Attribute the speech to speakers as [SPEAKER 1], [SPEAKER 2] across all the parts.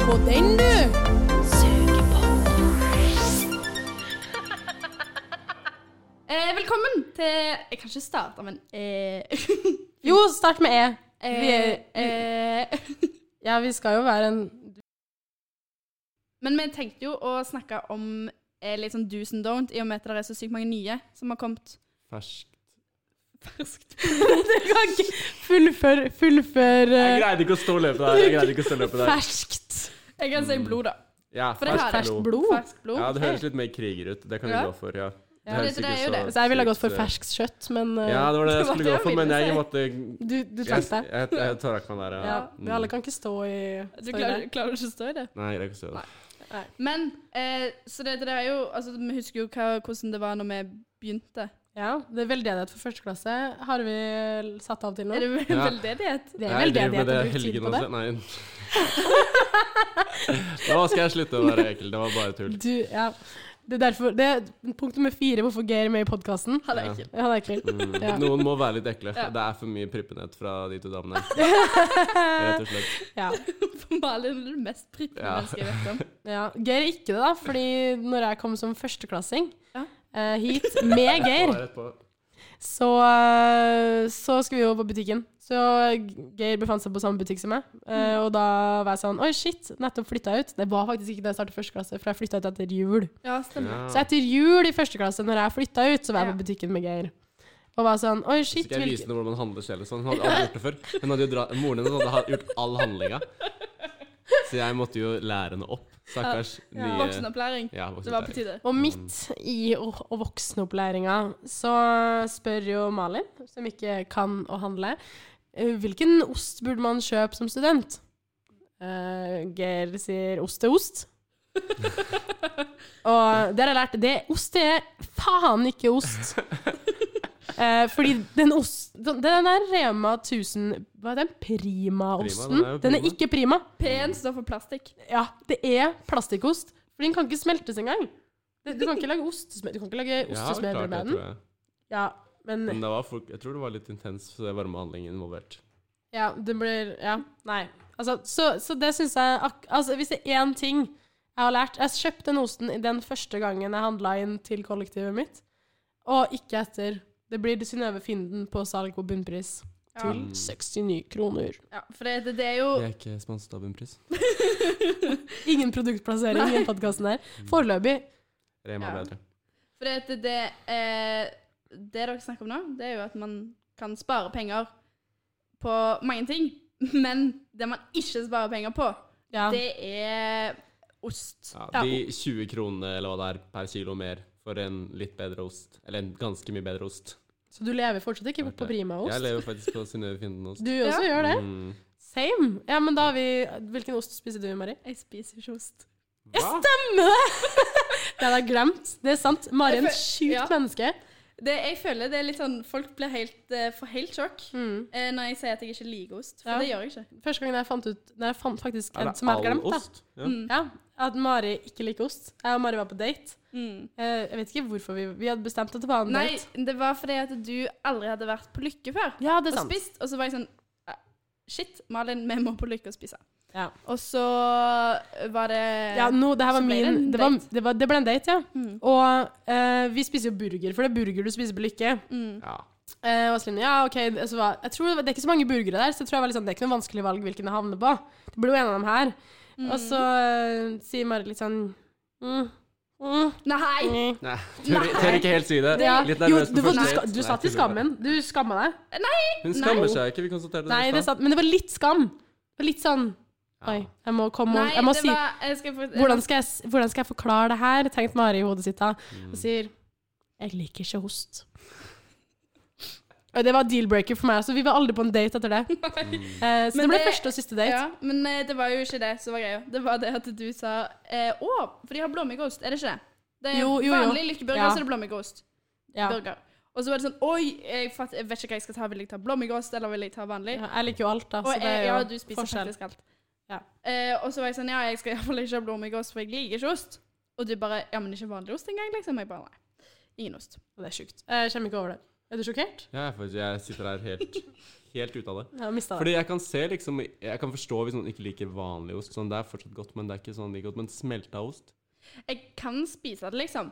[SPEAKER 1] på den, du!
[SPEAKER 2] Eh, velkommen til Jeg kan ikke starte, men eh,
[SPEAKER 1] Jo, start med E.
[SPEAKER 2] eh, eh,
[SPEAKER 1] Ja, vi skal jo være en
[SPEAKER 2] Men vi tenkte jo å snakke om eh, litt sånn do's and don't, i og med at det er så sykt mange nye som har kommet
[SPEAKER 3] Fersk.
[SPEAKER 2] ferskt.
[SPEAKER 1] Fullfør, fullfør
[SPEAKER 3] Jeg
[SPEAKER 1] eh,
[SPEAKER 3] greide ikke å stå og løpe der. Jeg greide ikke å stå og løpe der.
[SPEAKER 1] ferskt.
[SPEAKER 2] Jeg kan si blod, da.
[SPEAKER 3] Ja,
[SPEAKER 2] For det har jeg.
[SPEAKER 1] Ferskt blod.
[SPEAKER 2] Ferskt blod.
[SPEAKER 3] Mm. Ja, det høres litt mer kriger ut. Det kan vi
[SPEAKER 2] Ja.
[SPEAKER 3] gå for, ja.
[SPEAKER 1] Ja,
[SPEAKER 3] høres
[SPEAKER 2] det- det
[SPEAKER 3] ikke
[SPEAKER 2] er jo
[SPEAKER 3] så
[SPEAKER 2] det.
[SPEAKER 1] Så jeg ville gått for
[SPEAKER 3] sykt, eh,
[SPEAKER 1] ferskt kjøtt, men eh,
[SPEAKER 3] Ja, det var det jeg
[SPEAKER 2] Det var
[SPEAKER 3] skulle
[SPEAKER 2] det
[SPEAKER 3] gå
[SPEAKER 2] jeg
[SPEAKER 3] for, men
[SPEAKER 2] ville
[SPEAKER 3] jeg
[SPEAKER 2] si.
[SPEAKER 3] måtte
[SPEAKER 1] du, du
[SPEAKER 3] Jeg,
[SPEAKER 1] trakk deg.
[SPEAKER 3] jeg, jeg, jeg trakk meg der, ja. Mm.
[SPEAKER 1] Ja, vi alle kan ikke stå i, stå
[SPEAKER 2] Du
[SPEAKER 1] i
[SPEAKER 2] klarer,
[SPEAKER 1] det.
[SPEAKER 2] klarer ikke å stå i det.
[SPEAKER 3] Nei, jeg greier ikke å se det.
[SPEAKER 2] Men eh, så det, det er jo altså, Vi husker jo hva, hvordan det var når vi begynte.
[SPEAKER 1] Ja, det er veldedighet for første klasse har vi satt av til nå.
[SPEAKER 2] Er det vel
[SPEAKER 3] Ja.
[SPEAKER 2] veldedighet?
[SPEAKER 1] Det er
[SPEAKER 3] Jeg driver med
[SPEAKER 1] veldedighet
[SPEAKER 3] det
[SPEAKER 1] å bruke tid på
[SPEAKER 3] helgen
[SPEAKER 1] det.
[SPEAKER 3] også. Nei. Nå skal jeg slutte å være ekkel. Det var bare tull.
[SPEAKER 1] Du, ja. Det er derfor det er Punkt nummer fire hvorfor Geir er med i podkasten.
[SPEAKER 2] Han er
[SPEAKER 3] Ja.
[SPEAKER 2] ekkel.
[SPEAKER 1] Ja, det er ekkelt.
[SPEAKER 3] Mm.
[SPEAKER 1] Ja.
[SPEAKER 3] Noen må være litt ekle.
[SPEAKER 2] Ja.
[SPEAKER 3] Det er for mye prippenhet fra de to damene. Rett og slett.
[SPEAKER 1] Ja.
[SPEAKER 2] For Malin er det mest prippende
[SPEAKER 3] Ja.
[SPEAKER 2] mennesket jeg vet om.
[SPEAKER 1] Ja, Geir er ikke det, da, fordi når jeg kom som førsteklassing
[SPEAKER 2] Ja.
[SPEAKER 1] eh, hit med Geir,
[SPEAKER 3] Rett på.
[SPEAKER 1] så, eh, så skulle vi jo på butikken. Så Geir befant seg på samme butikk som meg, eh,
[SPEAKER 2] Mm.
[SPEAKER 1] og da var jeg sånn Oi, shit, nettopp flytta jeg ut. Det var faktisk ikke da jeg startet første klasse, for jeg flytta ut etter jul.
[SPEAKER 2] Ja, stemmer.
[SPEAKER 3] Ja.
[SPEAKER 1] Så etter jul i første klasse, når jeg flytta ut, så var jeg
[SPEAKER 2] Ja.
[SPEAKER 1] på butikken med Geir. Og var sånn Oi,
[SPEAKER 3] Så
[SPEAKER 1] shit.
[SPEAKER 3] skal jeg
[SPEAKER 1] hvilke-
[SPEAKER 3] vise henne hvordan man handler selv. og Sånn. Hun hadde aldri gjort det før. Hun hadde jo dra Moren hennes hadde ha- gjort all handlinga. Så jeg måtte jo lære henne opp. Stakkars nye
[SPEAKER 2] Voksenopplæring.
[SPEAKER 3] Ja, voksenopplæring.
[SPEAKER 2] Det var på tide.
[SPEAKER 1] Og midt i å- og voksenopplæringa så spør jo Malin, som ikke kan å handle, eh, hvilken ost burde man kjøpe som student? Eh, Geir sier ost er ost. og det har jeg lært. Det, ost er faen ikke ost. Eh, fordi den ost Den den der Rema 1000 Hva er den? Prima-osten?
[SPEAKER 3] Prima, den
[SPEAKER 1] den er
[SPEAKER 3] er jo prima.
[SPEAKER 1] ikke prima.
[SPEAKER 2] P1 står for plastikk.
[SPEAKER 1] Ja, det er plastikkost. For den kan ikke smeltes engang. Det- Du kan ikke lage ostesmør, du kan ikke lage ostesmørbrød
[SPEAKER 3] klart det,
[SPEAKER 1] med
[SPEAKER 3] tror
[SPEAKER 1] den.
[SPEAKER 3] jeg.
[SPEAKER 1] Ja, men
[SPEAKER 3] Men det var folk, jeg tror det var litt intens varmehandling involvert.
[SPEAKER 1] ja, den blir Ja, nei. Altså, så, så det syns jeg ak altså, Hvis det er én ting jeg har lært Jeg kjøpte den osten i den første gangen jeg handla inn til kollektivet mitt, og ikke etter. Det blir Synnøve Finden på salg på bunnpris
[SPEAKER 2] Ja.
[SPEAKER 1] til 69 kroner.
[SPEAKER 2] Ja, for det, det, det er jo
[SPEAKER 3] Jeg er ikke sponset av Bunnpris.
[SPEAKER 1] Ingen produktplassering i podkasten her. Foreløpig.
[SPEAKER 3] Rema er
[SPEAKER 2] Ja.
[SPEAKER 3] bedre.
[SPEAKER 2] For det, det, det, eh, det dere snakker om nå, det er jo at man kan spare penger på mange ting. Men det man ikke sparer penger på,
[SPEAKER 1] Ja.
[SPEAKER 2] det er ost.
[SPEAKER 3] Ja,
[SPEAKER 1] Ja.
[SPEAKER 3] de 20 kronene eller hva det er per kilo mer for en litt bedre ost. Eller en ganske mye bedre ost.
[SPEAKER 1] Så du lever fortsatt ikke på primaost?
[SPEAKER 3] Jeg lever faktisk på Synnøve Finden-ost.
[SPEAKER 1] Du også
[SPEAKER 2] Ja.
[SPEAKER 1] gjør det?
[SPEAKER 3] Mm.
[SPEAKER 1] Same. Ja, men da har vi Hvilken ost spiser du, Mari?
[SPEAKER 2] Jeg spiser ikke ost.
[SPEAKER 3] Hva?
[SPEAKER 1] Stemmer det! Det hadde jeg glemt. Det er sant. Mari er
[SPEAKER 2] Jeg
[SPEAKER 1] en
[SPEAKER 2] fø-
[SPEAKER 1] sjukt
[SPEAKER 2] ja.
[SPEAKER 1] menneske.
[SPEAKER 2] Det, jeg føler det er litt sånn Folk blir helt, eh, får helt sjokk
[SPEAKER 1] Mm.
[SPEAKER 2] eh, når jeg sier at jeg ikke liker ost. For
[SPEAKER 1] Ja.
[SPEAKER 2] det gjør jeg ikke.
[SPEAKER 1] Første gangen jeg fant ut Nei, jeg fant faktisk
[SPEAKER 3] Er
[SPEAKER 1] en
[SPEAKER 3] det
[SPEAKER 1] som jeg hadde
[SPEAKER 3] all
[SPEAKER 1] glemt. Da. Mm.
[SPEAKER 3] ost? Ja.
[SPEAKER 1] Ja, At Mari ikke liker ost. Jeg og Mari var på date.
[SPEAKER 2] Mm.
[SPEAKER 1] Eh, Jeg vet ikke hvorfor vi Vi hadde bestemt at det var en
[SPEAKER 2] Nei,
[SPEAKER 1] date.
[SPEAKER 2] det var fordi at du aldri hadde vært på Lykke før.
[SPEAKER 1] Ja, det er
[SPEAKER 2] og
[SPEAKER 1] sant.
[SPEAKER 2] spist, og så var jeg sånn "Ah, Shit, Malin, vi må på Lykke og spise.
[SPEAKER 1] Ja.
[SPEAKER 2] Og så var det
[SPEAKER 1] Ja, nå, det her var
[SPEAKER 2] Så ble
[SPEAKER 1] min
[SPEAKER 2] det en
[SPEAKER 1] det, var,
[SPEAKER 2] date.
[SPEAKER 1] det, var, det ble en date, ja.
[SPEAKER 2] Mm.
[SPEAKER 1] Og eh, vi spiser jo burger, for det er burger du spiser på Lykke.
[SPEAKER 2] Mm.
[SPEAKER 3] Ja.
[SPEAKER 1] Eh, og Celine, ja, ok, det- altså, hva- jeg tror det, var, det er ikke så mange burgere der, så jeg tror jeg var litt sånn, det er ikke noe vanskelig valg hvilken jeg havner på. Det blir jo en av dem her. Og
[SPEAKER 2] Mm.
[SPEAKER 1] så eh, sier Mari litt sånn mm, mm,
[SPEAKER 2] Nei!
[SPEAKER 1] mm.
[SPEAKER 3] Nei, tør, tør ikke helt si det.
[SPEAKER 1] Ja.
[SPEAKER 3] Litt
[SPEAKER 1] Jo,
[SPEAKER 3] nervøs
[SPEAKER 1] du, du,
[SPEAKER 3] på første
[SPEAKER 1] ska,
[SPEAKER 3] date.
[SPEAKER 1] du
[SPEAKER 3] Nei,
[SPEAKER 1] satt i
[SPEAKER 3] tuller bare.
[SPEAKER 1] skammen. Du skamma deg.
[SPEAKER 3] Hun
[SPEAKER 1] Nei.
[SPEAKER 3] skammer seg ikke, vi konstaterte det.
[SPEAKER 1] Nei,
[SPEAKER 3] i
[SPEAKER 1] det er
[SPEAKER 3] stad.
[SPEAKER 1] sant, men det var litt skam. Det var litt sånn Oi, jeg må komme og
[SPEAKER 2] Nei,
[SPEAKER 1] Jeg må
[SPEAKER 2] det
[SPEAKER 1] si
[SPEAKER 2] var jeg skal få,
[SPEAKER 1] hvordan skal jeg, s- hvordan skal jeg forklare det her? Tenkte Mari i hodet sitt da.
[SPEAKER 3] Mm.
[SPEAKER 1] Og sier Jeg liker ikke ost. Og det var deal-breaker for meg, så vi var aldri på en date etter det.
[SPEAKER 3] Mm.
[SPEAKER 1] Eh, så
[SPEAKER 2] Men
[SPEAKER 1] det ble
[SPEAKER 2] det-
[SPEAKER 1] første og siste date.
[SPEAKER 2] Ja, men eh, det var jo ikke det som var greia. Det var det at du sa eh, Å, for de har blåmuggost, er det ikke det? Det er
[SPEAKER 1] Jo, jo, jo.
[SPEAKER 2] vanlig lykkeburger,
[SPEAKER 1] Ja.
[SPEAKER 2] så er det blåmuggost.
[SPEAKER 1] Ja.
[SPEAKER 2] Burger. Og så var det sånn Oi, jeg, fatt, jeg vet ikke hva jeg skal ta. Vil jeg ta blåmuggost, eller vil jeg ta vanlig?
[SPEAKER 1] Ja, jeg liker jo alt, da.
[SPEAKER 2] Og
[SPEAKER 1] Så Altså, det er
[SPEAKER 2] jeg,
[SPEAKER 1] jo
[SPEAKER 2] ja, du spiser
[SPEAKER 1] forskjell.
[SPEAKER 2] faktisk alt.
[SPEAKER 1] Ja.
[SPEAKER 2] Eh, og så var jeg sånn, ja, jeg skal iallfall ikke ha blåmuggost, for jeg liker ikke ost. Og du bare, ja, men ikke vanlig ost engang, liksom. Jeg bare, nei. Ingen ost.
[SPEAKER 1] Eh, Og det er sjukt. Jeg kommer ikke over det. Er du sjokkert?
[SPEAKER 3] Ja, jeg, faktisk, jeg sitter her helt helt ute av det.
[SPEAKER 1] Jeg har mista det.
[SPEAKER 3] Fordi jeg kan se liksom Jeg kan forstå hvis noen ikke liker vanlig ost. Sånn, Det er fortsatt godt, men det er ikke sånn like godt. Men smelta ost
[SPEAKER 2] Jeg kan spise det, liksom.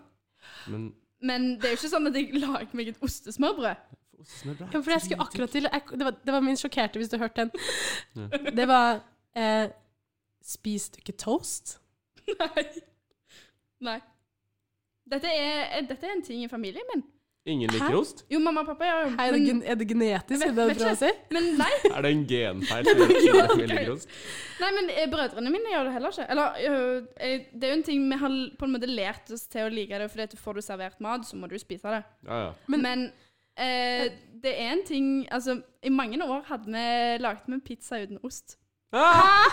[SPEAKER 3] Men
[SPEAKER 2] Men det er jo ikke sånn at jeg lager meg et ostesmørbrød.
[SPEAKER 3] ostesmørbrød er
[SPEAKER 1] Ja, for jeg skulle akkurat til jeg, det, var, det var min sjokkerte, hvis du hørte den.
[SPEAKER 3] Ja.
[SPEAKER 1] Det var eh, Spis du ikke toast?
[SPEAKER 2] Nei. Nei. Dette er, eh, dette er en ting i familien min.
[SPEAKER 3] Ingen liker ost?
[SPEAKER 2] Jo, mamma og pappa gjør jo
[SPEAKER 1] Hei, er, det, gen- er det genetisk? Er det det
[SPEAKER 2] Vet-
[SPEAKER 1] du prøver å si?
[SPEAKER 2] Men nei,
[SPEAKER 3] Er det en genfeil som gjør at ingen ikke liker ost?
[SPEAKER 2] nei men eh, brødrene mine gjør det heller ikke. Eller, øh, eh, det er jo en ting vi har på en måte lært oss til å like det, fordi at får du servert mat, så må du spise det.
[SPEAKER 3] Ja, ja.
[SPEAKER 1] Men-
[SPEAKER 2] Men, eh, det er en ting Altså, i mange år hadde vi lagd med pizza uten ost.
[SPEAKER 3] Ah!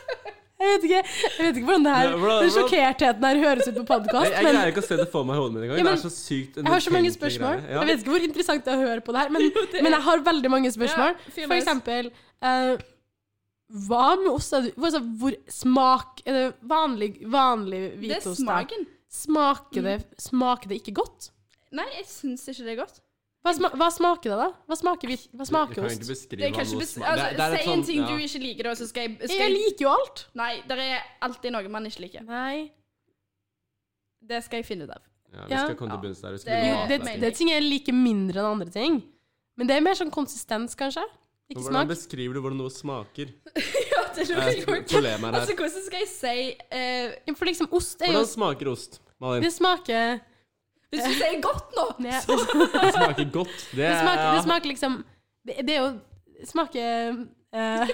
[SPEAKER 1] Jeg vet ikke, jeg vet ikke hvordan det her
[SPEAKER 3] Ja, hvordan-
[SPEAKER 1] Den sjokkertheten her høres ut på
[SPEAKER 3] Jeg,
[SPEAKER 1] podkast,
[SPEAKER 3] jeg
[SPEAKER 1] men
[SPEAKER 3] greier ikke å se det for meg i hodet mitt
[SPEAKER 1] Ja,
[SPEAKER 3] engang. Det
[SPEAKER 1] men-
[SPEAKER 3] er så sykt en
[SPEAKER 1] jeg har så mange
[SPEAKER 3] utenkelig
[SPEAKER 1] spørsmål.
[SPEAKER 3] greie. Ja.
[SPEAKER 1] Jeg vet ikke hvor interessant det er å høre på det her, men, men jeg har veldig mange spørsmål.
[SPEAKER 2] Ja, fyr
[SPEAKER 1] For
[SPEAKER 2] løs.
[SPEAKER 1] eksempel eh, Hva med ost? er du- hvor- Altså, hvor smak Er det vanlig, vanlig
[SPEAKER 2] Det er
[SPEAKER 1] hvitost? da?
[SPEAKER 2] smaken.
[SPEAKER 1] Smaker det, smaker det ikke godt?
[SPEAKER 2] Nei, jeg syns ikke det er godt.
[SPEAKER 1] Hva, sma hva smaker det, da? Hva smaker, hvit- hva
[SPEAKER 3] Du
[SPEAKER 1] smaker
[SPEAKER 3] kan ikke
[SPEAKER 1] ost?
[SPEAKER 3] beskrive
[SPEAKER 2] Det kan
[SPEAKER 3] hva
[SPEAKER 2] ikke
[SPEAKER 3] noe
[SPEAKER 2] bes-
[SPEAKER 3] smak-
[SPEAKER 2] altså,
[SPEAKER 3] Det er- det er et
[SPEAKER 2] si en
[SPEAKER 3] sånn-
[SPEAKER 2] ting
[SPEAKER 3] ja.
[SPEAKER 2] du ikke liker, da, så skal jeg, skal
[SPEAKER 1] Jeg
[SPEAKER 2] jeg
[SPEAKER 1] liker jo alt.
[SPEAKER 2] Nei, det er alltid noe man ikke liker.
[SPEAKER 1] Nei.
[SPEAKER 2] Det skal jeg finne ut av.
[SPEAKER 3] Ja, vi
[SPEAKER 1] Ja.
[SPEAKER 3] skal komme til
[SPEAKER 2] Ja.
[SPEAKER 3] bunns der. Vi skal
[SPEAKER 2] Det-
[SPEAKER 1] Jo,
[SPEAKER 3] begynne å
[SPEAKER 1] det,
[SPEAKER 3] avdekke.
[SPEAKER 2] Nei.
[SPEAKER 1] det er ting jeg liker mindre enn andre ting. Men det er mer sånn konsistens, kanskje. Ikke
[SPEAKER 3] Hvordan
[SPEAKER 1] smak.
[SPEAKER 3] beskriver du hvordan noe smaker?
[SPEAKER 2] ja, det lurer
[SPEAKER 3] Jeg
[SPEAKER 2] jeg
[SPEAKER 3] tror-
[SPEAKER 2] også.
[SPEAKER 3] Problemet er
[SPEAKER 2] Altså,
[SPEAKER 3] her.
[SPEAKER 2] hvordan skal jeg si eh,
[SPEAKER 1] Ja, For liksom, ost er jo
[SPEAKER 3] Hvordan smaker ost? Malin,
[SPEAKER 1] Det smaker
[SPEAKER 2] Hvis du sier godt nå,
[SPEAKER 1] Nei,
[SPEAKER 2] så
[SPEAKER 3] det smaker godt. Det,
[SPEAKER 1] Det
[SPEAKER 3] er-
[SPEAKER 1] smaker, det smaker liksom Det, det er jo det smaker eh,